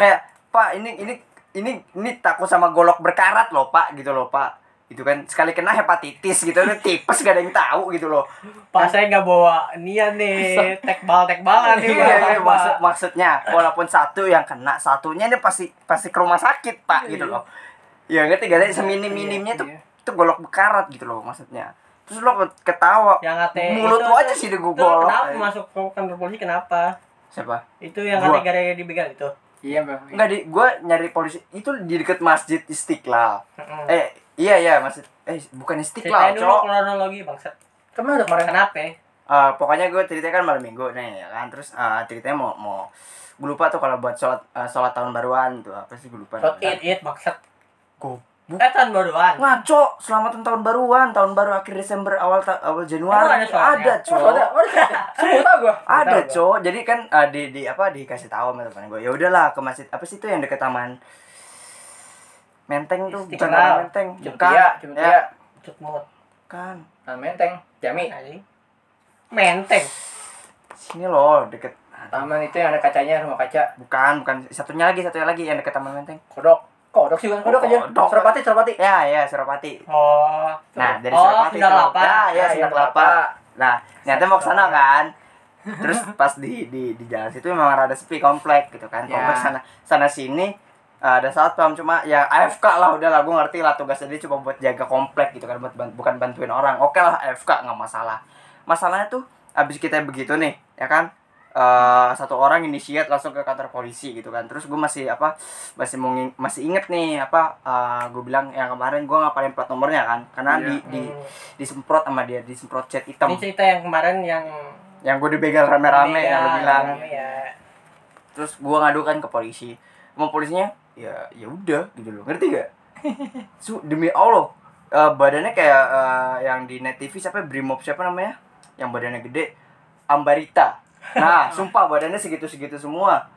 [SPEAKER 2] kayak pak ini ini ini ini takut sama golok berkarat loh pak gitu loh pak itu kan sekali kena hepatitis gitu udah tipes gak ada yang tahu gitu loh
[SPEAKER 3] Pak saya nggak bawa nian nih, tekbal tekbalan nih
[SPEAKER 2] iya, iya,
[SPEAKER 3] Pak.
[SPEAKER 2] maksud, maksudnya walaupun satu yang kena satunya dia pasti pasti ke rumah sakit pak gitu loh ya ngerti gak sih seminim minimnya tuh
[SPEAKER 4] Iya.
[SPEAKER 2] itu golok bekarat gitu loh maksudnya terus lo ketawa
[SPEAKER 3] Yang kata
[SPEAKER 2] mulut
[SPEAKER 3] Ya, itu-
[SPEAKER 2] lu aja sih
[SPEAKER 3] Itu
[SPEAKER 2] digugol
[SPEAKER 3] kenapa masuk ke kantor polisi kenapa?
[SPEAKER 2] siapa
[SPEAKER 3] Itu yang
[SPEAKER 2] Gua.
[SPEAKER 3] gara-gara dibegal itu.
[SPEAKER 4] Iya, Bang.
[SPEAKER 2] enggak di gue nyari polisi itu di deket masjid istiqlal
[SPEAKER 3] Heeh.
[SPEAKER 2] eh iya iya masjid eh bukan
[SPEAKER 3] Hmm. Ceritain
[SPEAKER 2] istiqlal
[SPEAKER 3] dulu
[SPEAKER 2] cowok
[SPEAKER 3] kronologi bangsat.
[SPEAKER 4] Kemarin udah kemarin.
[SPEAKER 3] Kenapa?
[SPEAKER 2] Eh, pokoknya gue ceritanya kan malam minggu nih ya kan terus eh, ceritanya mau mau gue lupa tuh kalau buat sholat eh, sholat tahun baruan tuh apa sih gue lupa
[SPEAKER 4] Sholat
[SPEAKER 2] namanya.
[SPEAKER 3] It it bangsat.
[SPEAKER 2] Goblok.
[SPEAKER 3] Eh tahun baruan.
[SPEAKER 2] ngaco selamatan tahun baruan tahun baru akhir Desember awal ta- awal
[SPEAKER 3] Emang
[SPEAKER 2] Januari
[SPEAKER 3] ada soalnya?
[SPEAKER 2] ada
[SPEAKER 4] Oh,
[SPEAKER 2] cowok
[SPEAKER 4] ada. Oh, ada. Semua tahu gue.
[SPEAKER 2] ada
[SPEAKER 3] Tahu,
[SPEAKER 2] cowok jadi kan eh, di di apa dikasih tahu sama teman gue ya udahlah ke masjid apa sih itu yang deket taman menteng tuh bukan
[SPEAKER 3] Istiqlal.
[SPEAKER 2] taman menteng bukan
[SPEAKER 4] Jutia, Jutia.
[SPEAKER 2] ya
[SPEAKER 3] Cutmut.
[SPEAKER 2] bukan
[SPEAKER 4] Nah, menteng. Jami.
[SPEAKER 3] Eh, Anjing. Menteng.
[SPEAKER 2] sini loh deket
[SPEAKER 4] Taman itu yang ada kacanya, rumah kaca.
[SPEAKER 2] bukan bukan satunya lagi satunya lagi yang deket taman menteng
[SPEAKER 4] Kodok. Kodok sih bukan kodok aja.
[SPEAKER 2] Kodok.
[SPEAKER 4] Serapati, serapati.
[SPEAKER 2] ya ya Suropati
[SPEAKER 3] Oh.
[SPEAKER 2] nah dari
[SPEAKER 3] oh,
[SPEAKER 2] Suropati
[SPEAKER 3] Sunda
[SPEAKER 2] tuh.
[SPEAKER 3] Kelapa.
[SPEAKER 2] Nah, ya
[SPEAKER 4] Nah,
[SPEAKER 2] Sunda
[SPEAKER 4] yang
[SPEAKER 2] Kelapa Nah, nyata mau ke sana kan. Terus pas di di di jalan situ memang rada sepi komplek gitu kan.
[SPEAKER 4] Ya.
[SPEAKER 2] Komplek sana sana sini eh, ada satpam cuma ya AFK lah udah lah gue ngerti lah tugasnya dia cuma buat jaga komplek gitu kan buat ban- bukan bantuin orang. Oke lah AFK nggak masalah. Masalahnya tuh abis kita begitu nih ya kan eh satu orang inisiat langsung ke kantor polisi gitu kan terus gue masih apa masih mau nging- masih inget nih apa eh, gue bilang yang kemarin gue ngapalin plat nomornya kan karena
[SPEAKER 4] Iya.
[SPEAKER 2] di, di
[SPEAKER 3] Hmm.
[SPEAKER 2] disemprot sama dia disemprot cat hitam
[SPEAKER 3] Ini cerita yang kemarin yang
[SPEAKER 2] yang gue dibegal rame-rame
[SPEAKER 3] Iya,
[SPEAKER 2] yang lo bilang
[SPEAKER 3] rame ya.
[SPEAKER 2] terus gue ngadukan ke polisi sama polisinya ya ya udah gitu loh ngerti gak Su, demi allah eh, badannya kayak eh, yang di net tv siapa ya? brimob siapa namanya yang badannya gede ambarita nah sumpah badannya segitu segitu semua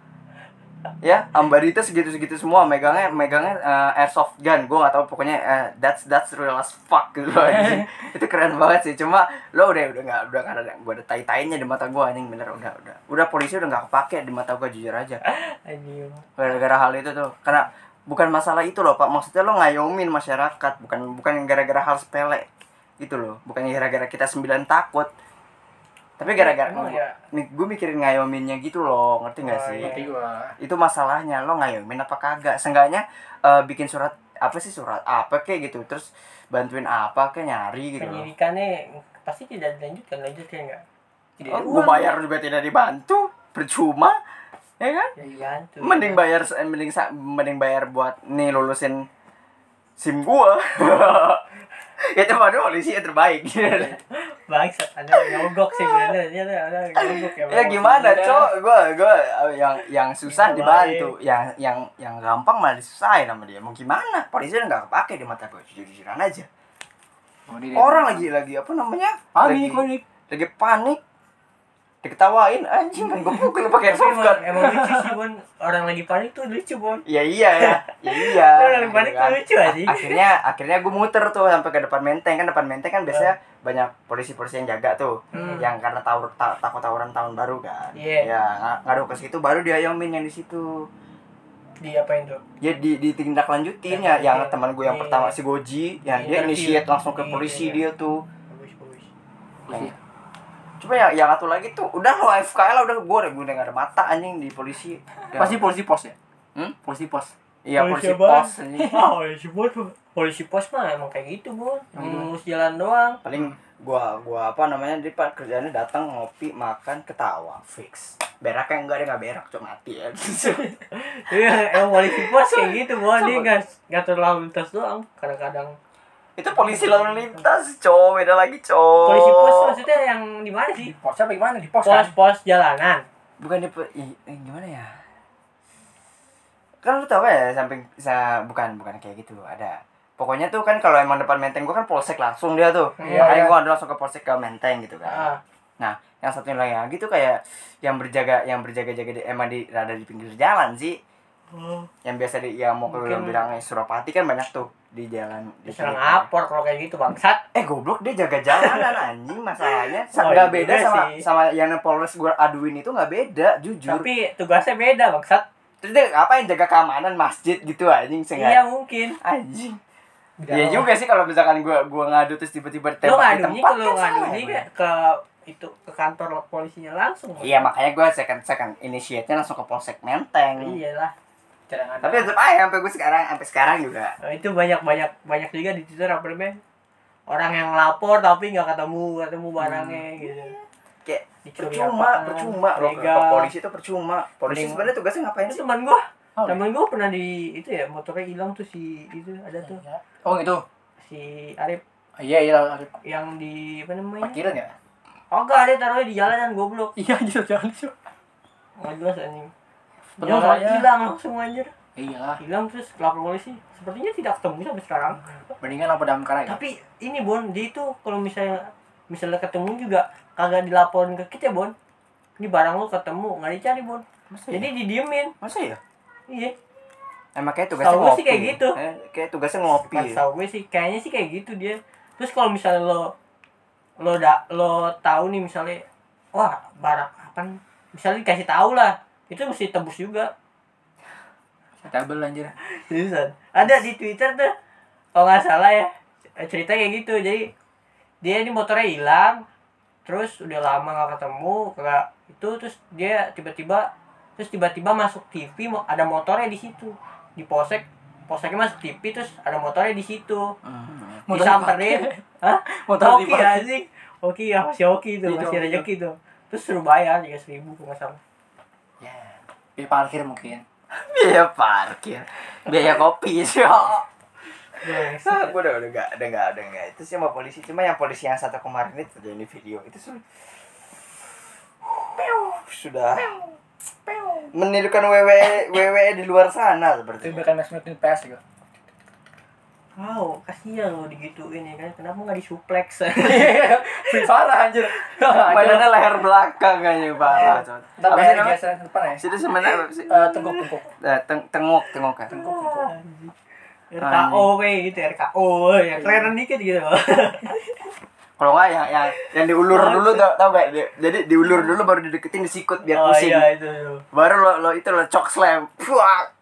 [SPEAKER 2] ya ambarita segitu segitu semua megangnya megangnya eh, airsoft gun gue nggak tahu pokoknya eh, that's that's real as fuck gitu loh anjing. itu keren banget sih cuma lo udah udah nggak udah nggak ada gue ada tai tainya di mata gue anjing bener udah udah udah polisi udah nggak kepake di mata gue jujur aja
[SPEAKER 3] Anjing.
[SPEAKER 2] gara-gara hal itu tuh karena bukan masalah itu loh pak maksudnya lo ngayomin masyarakat bukan bukan gara-gara hal sepele gitu loh bukan gara-gara kita sembilan takut tapi gara-gara
[SPEAKER 3] Emang ya?
[SPEAKER 2] gue mikirin ngayominnya gitu loh ngerti nggak
[SPEAKER 3] Oh,
[SPEAKER 2] sih
[SPEAKER 3] iya.
[SPEAKER 4] Ngerti gue.
[SPEAKER 2] itu masalahnya lo ngayomin apa kagak seenggaknya eh, bikin surat apa sih surat apa kayak gitu terus bantuin apa kayak nyari gitu loh
[SPEAKER 3] penyidikannya pasti tidak dilanjutkan lanjut ya enggak
[SPEAKER 2] oh, gue bayar juga tidak dibantu percuma ya kan
[SPEAKER 3] ya dibantu
[SPEAKER 2] mending bayar eh, mending sa- mending bayar buat nih lulusin sim gua itu baru polisi yang terbaik
[SPEAKER 3] bangsat ada yang nyogok sih bener dia ada ada yang nyogok ya
[SPEAKER 2] ya gimana cok gua gua eh, yang yang susah dibantu yang yang yang gampang malah disusahin sama dia mau gimana polisi udah nggak kepake di mata gua jujur jujuran aja
[SPEAKER 4] Oh,
[SPEAKER 3] Iya.
[SPEAKER 2] orang lagi lagi apa namanya
[SPEAKER 4] Panik,
[SPEAKER 2] lagi,
[SPEAKER 4] panik.
[SPEAKER 2] lagi panik diketawain anjing kan gue pukul pakai
[SPEAKER 3] Tapi
[SPEAKER 2] airsoft
[SPEAKER 3] emang,
[SPEAKER 2] gun
[SPEAKER 3] emang lucu sih Bon orang lagi panik tuh lucu Bon
[SPEAKER 2] ya iya ya ya iya
[SPEAKER 3] orang lagi
[SPEAKER 2] gitu
[SPEAKER 3] panik tuh
[SPEAKER 2] kan.
[SPEAKER 3] lucu aja
[SPEAKER 2] akhirnya akhirnya gue muter tuh sampai ke depan menteng kan depan menteng kan biasanya banyak polisi-polisi yang jaga tuh
[SPEAKER 3] Iya. Hmm.
[SPEAKER 2] yang karena tawur ta- takut tawuran tahun baru kan
[SPEAKER 3] Iya.
[SPEAKER 2] ya nga- ngaruh ke situ baru diayomin yang di situ
[SPEAKER 3] di apain tuh
[SPEAKER 2] ya di ditindaklanjutin ya yang
[SPEAKER 3] Iya.
[SPEAKER 2] teman gue yang
[SPEAKER 3] Iya.
[SPEAKER 2] pertama si Goji yang
[SPEAKER 3] Iya,
[SPEAKER 2] dia
[SPEAKER 3] interview.
[SPEAKER 2] initiate langsung ke
[SPEAKER 3] Iya,
[SPEAKER 2] polisi dia
[SPEAKER 3] iya.
[SPEAKER 2] tuh
[SPEAKER 3] bagus bagus
[SPEAKER 4] Iya.
[SPEAKER 2] cuma ya yang satu lagi tuh udah lo AFK lah udah gue udah gue udah nggak ada mata anjing di polisi Udah.
[SPEAKER 4] Pasti polisi pos ya?
[SPEAKER 2] Hmm?
[SPEAKER 4] Polisi pos.
[SPEAKER 2] iya polisi
[SPEAKER 3] apaan?
[SPEAKER 2] pos anjing
[SPEAKER 3] Ah, polisi pos polisi pos mah emang kayak gitu Bon
[SPEAKER 4] Emang gitu.
[SPEAKER 3] ngurus jalan doang
[SPEAKER 2] paling gua gua apa namanya dia pak kerjaannya datang ngopi makan ketawa fix beraknya enggak dia nggak berak cuma mati ya
[SPEAKER 3] Iya, emang polisi pos kayak gitu, Bon. Dia
[SPEAKER 2] Sama.
[SPEAKER 3] nggak nggak terlalu lintas doang. Kadang-kadang
[SPEAKER 2] itu polisi lalu lintas cowok beda lagi cowok
[SPEAKER 3] polisi pos maksudnya yang di mana sih?
[SPEAKER 4] pos apa gimana? Di pos, kan?
[SPEAKER 3] Pos-pos jalanan.
[SPEAKER 2] bukan dia pe- i- eh, gimana ya kan lu tau ya samping sa, bukan bukan kayak gitu ada pokoknya tuh kan kalau emang depan menteng gua kan polsek langsung dia tuh
[SPEAKER 3] Iya,
[SPEAKER 2] makanya
[SPEAKER 4] iya.
[SPEAKER 2] gua ada langsung ke polsek ke menteng gitu kan
[SPEAKER 3] Ah,
[SPEAKER 2] Nah, yang satu lagi lagi tuh kayak yang berjaga yang berjaga-jaga di emang di rada di pinggir jalan sih. Yang biasa di yang mau kalau
[SPEAKER 3] Mungkin-
[SPEAKER 2] bilangnya Surapati kan banyak tuh di jalan di
[SPEAKER 3] diserang
[SPEAKER 2] pinggir.
[SPEAKER 3] apor kalau kayak gitu, bangsat.
[SPEAKER 2] Eh goblok dia jaga jalanan anjing masalahnya.
[SPEAKER 3] Oh,
[SPEAKER 2] Sa- nggak
[SPEAKER 3] iya
[SPEAKER 2] beda
[SPEAKER 3] juga
[SPEAKER 2] sama
[SPEAKER 3] sih.
[SPEAKER 2] sama yang Polres gua aduin itu nggak beda jujur.
[SPEAKER 3] Tapi tugasnya beda, bangsat.
[SPEAKER 2] Terus dia ngapain jaga keamanan masjid gitu anjing sengaja.
[SPEAKER 3] Iya, mungkin.
[SPEAKER 2] Anjing.
[SPEAKER 3] Beda
[SPEAKER 2] Iya
[SPEAKER 3] doang.
[SPEAKER 2] juga sih kalau misalkan gua gua ngadu terus tiba-tiba
[SPEAKER 3] Lu
[SPEAKER 2] ditembak di tempat
[SPEAKER 3] ngadunya kalau
[SPEAKER 2] kan salah
[SPEAKER 3] ngadunya
[SPEAKER 2] ya,
[SPEAKER 3] nggak ke itu ke kantor polisinya langsung.
[SPEAKER 2] Bang. Iya makanya gua second second initiate-nya langsung ke Polsek Menteng.
[SPEAKER 3] Iyalah. Jangan
[SPEAKER 2] tapi tetap aja sampai gue sekarang sampai sekarang juga
[SPEAKER 3] Nah, itu banyak banyak banyak juga di Twitter apa namanya orang yang lapor tapi nggak ketemu ketemu barangnya
[SPEAKER 2] Hmm.
[SPEAKER 3] gitu
[SPEAKER 2] Iya. kayak
[SPEAKER 3] Dicuri
[SPEAKER 2] percuma
[SPEAKER 3] apaan,
[SPEAKER 2] percuma loh ke,
[SPEAKER 3] begal.
[SPEAKER 2] ke polisi itu percuma polisi
[SPEAKER 3] Mending-
[SPEAKER 2] sebenarnya tugasnya ngapain
[SPEAKER 3] itu
[SPEAKER 2] sih
[SPEAKER 3] teman
[SPEAKER 4] Oh,
[SPEAKER 3] gua
[SPEAKER 4] iya.
[SPEAKER 3] teman gua pernah di itu ya motornya hilang tuh si itu ada tuh
[SPEAKER 2] Hmm.
[SPEAKER 4] Oh gitu.
[SPEAKER 3] si Arif
[SPEAKER 4] Iya iya
[SPEAKER 3] yang di apa namanya
[SPEAKER 4] parkiran ya?
[SPEAKER 3] oh enggak ada taruhnya di jalanan goblok
[SPEAKER 4] Iya anjir jangan sih.
[SPEAKER 3] nggak jelas anjing
[SPEAKER 4] Betul,
[SPEAKER 3] Jalan
[SPEAKER 4] soalnya.
[SPEAKER 3] hilang langsung anjir
[SPEAKER 4] Iya.
[SPEAKER 3] hilang terus lapor polisi sepertinya tidak ketemu sampai sekarang
[SPEAKER 4] Mendingan apa dalam karya?
[SPEAKER 3] tapi ini Bon dia itu kalau misalnya misalnya ketemu juga kagak dilaporin ke kita Bon ini barang lo ketemu nggak dicari Bon
[SPEAKER 2] masa
[SPEAKER 3] jadi
[SPEAKER 2] ya?
[SPEAKER 3] didiemin
[SPEAKER 2] masa ya
[SPEAKER 3] iya
[SPEAKER 2] emang kayak tugasnya
[SPEAKER 3] Setahu gue
[SPEAKER 2] ngopi
[SPEAKER 3] sih kayak gitu.
[SPEAKER 2] Eh, kayak tugasnya ngopi
[SPEAKER 3] Pas tau gue sih kayaknya sih kayak gitu dia terus kalau misalnya lo lo da, lo tahu nih misalnya wah barang apa nih? misalnya dikasih tahu lah itu mesti tebus juga
[SPEAKER 4] Tabel Iya. anjir.
[SPEAKER 3] Seriusan. Ada di Twitter tuh. Kalau nggak salah ya. Cerita kayak gitu. Jadi dia ini motornya hilang. Terus udah lama nggak ketemu, nggak itu terus dia tiba-tiba terus tiba-tiba masuk TV mo- ada motornya di situ. Di posek poseknya masuk TV terus ada motornya di situ.
[SPEAKER 2] Hmm.
[SPEAKER 4] Motor
[SPEAKER 3] Disamperin. Hah?
[SPEAKER 4] Motor
[SPEAKER 3] Oki
[SPEAKER 4] dipakai.
[SPEAKER 3] anjing. Oki ya masih Oki itu,
[SPEAKER 4] Iya,
[SPEAKER 3] masih
[SPEAKER 4] Oki.
[SPEAKER 3] rezeki itu. Terus suruh bayar 3000 kalau nggak salah.
[SPEAKER 4] Ya. Di parkir mungkin.
[SPEAKER 2] biaya parkir biaya kopi sih
[SPEAKER 3] Yes.
[SPEAKER 2] gue udah udah gak udah gak udah gak itu sih sama polisi cuma yang polisi yang satu kemarin itu yang di video itu sudah sudah menirukan wewe wewe E di luar sana seperti
[SPEAKER 4] bukan match match PS gitu.
[SPEAKER 3] Wow, kasihan lo digituin ya kan. Kenapa nggak disuplex?
[SPEAKER 4] Free Fire anjir.
[SPEAKER 2] mainannya leher belakang kayaknya parah coy.
[SPEAKER 4] Ntar
[SPEAKER 2] Apa sih
[SPEAKER 4] bayar
[SPEAKER 2] namanya?
[SPEAKER 4] geser ke depan ya.
[SPEAKER 2] Situ sebenarnya apa sih?
[SPEAKER 4] Eh, Tengkuk tengkuk.
[SPEAKER 2] Eh, teng- tengok tengok kan.
[SPEAKER 3] Iya.
[SPEAKER 2] iya.
[SPEAKER 3] RKO kayak gitu RKO ya keren dikit gitu
[SPEAKER 2] Kalau nggak yang yang yang diulur dulu tau, tau gak? Di- Jadi diulur dulu baru dideketin disikut biar
[SPEAKER 3] oh
[SPEAKER 2] pusing.
[SPEAKER 3] iya itu itu.
[SPEAKER 2] Baru lo lo itu lo cok slam. Fuak.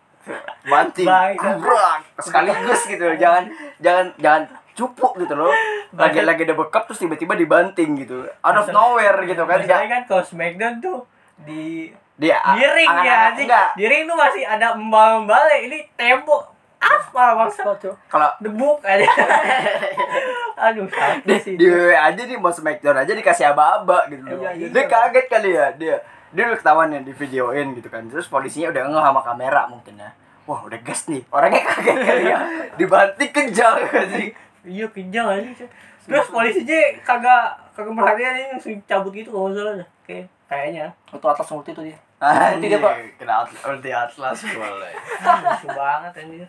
[SPEAKER 2] Banting.
[SPEAKER 3] Baik.
[SPEAKER 2] Abrak. Sekaligus gitu. Jangan jangan jangan cupuk gitu loh. Lagi lagi ada bekap terus tiba-tiba dibanting gitu. Out of nowhere gitu kan.
[SPEAKER 3] Biasanya
[SPEAKER 2] Nggak-
[SPEAKER 3] kan kalau Smackdown tuh di
[SPEAKER 2] Dia
[SPEAKER 3] di ring ya anjing
[SPEAKER 2] Enggak.
[SPEAKER 3] di ring tuh masih ada embal-embal ya. ini tembok aspal bangsa
[SPEAKER 4] tuh.
[SPEAKER 2] Kalau
[SPEAKER 3] debuk aja aduh sakit
[SPEAKER 2] di,
[SPEAKER 3] sih
[SPEAKER 2] di WWE aja nih mau smackdown aja dikasih aba-aba gitu loh.
[SPEAKER 3] Iya, iya.
[SPEAKER 2] dia kaget kali ya dia dia udah ketahuan ya di videoin gitu kan terus polisinya udah ngeh sama kamera mungkin ya wah udah gas nih orangnya kaget kali ya dibanting kejang sih
[SPEAKER 3] iya pinjang aja terus polisinya kagak kagak perhatian ini langsung cabut gitu kalau nggak salah dah. Kayak- kayaknya
[SPEAKER 4] Itu atas multi tuh dia.
[SPEAKER 2] Anjing,
[SPEAKER 4] dia, Pak. oh,
[SPEAKER 2] kena atlas, ulti atlas boleh
[SPEAKER 3] Ah, lucu banget anjir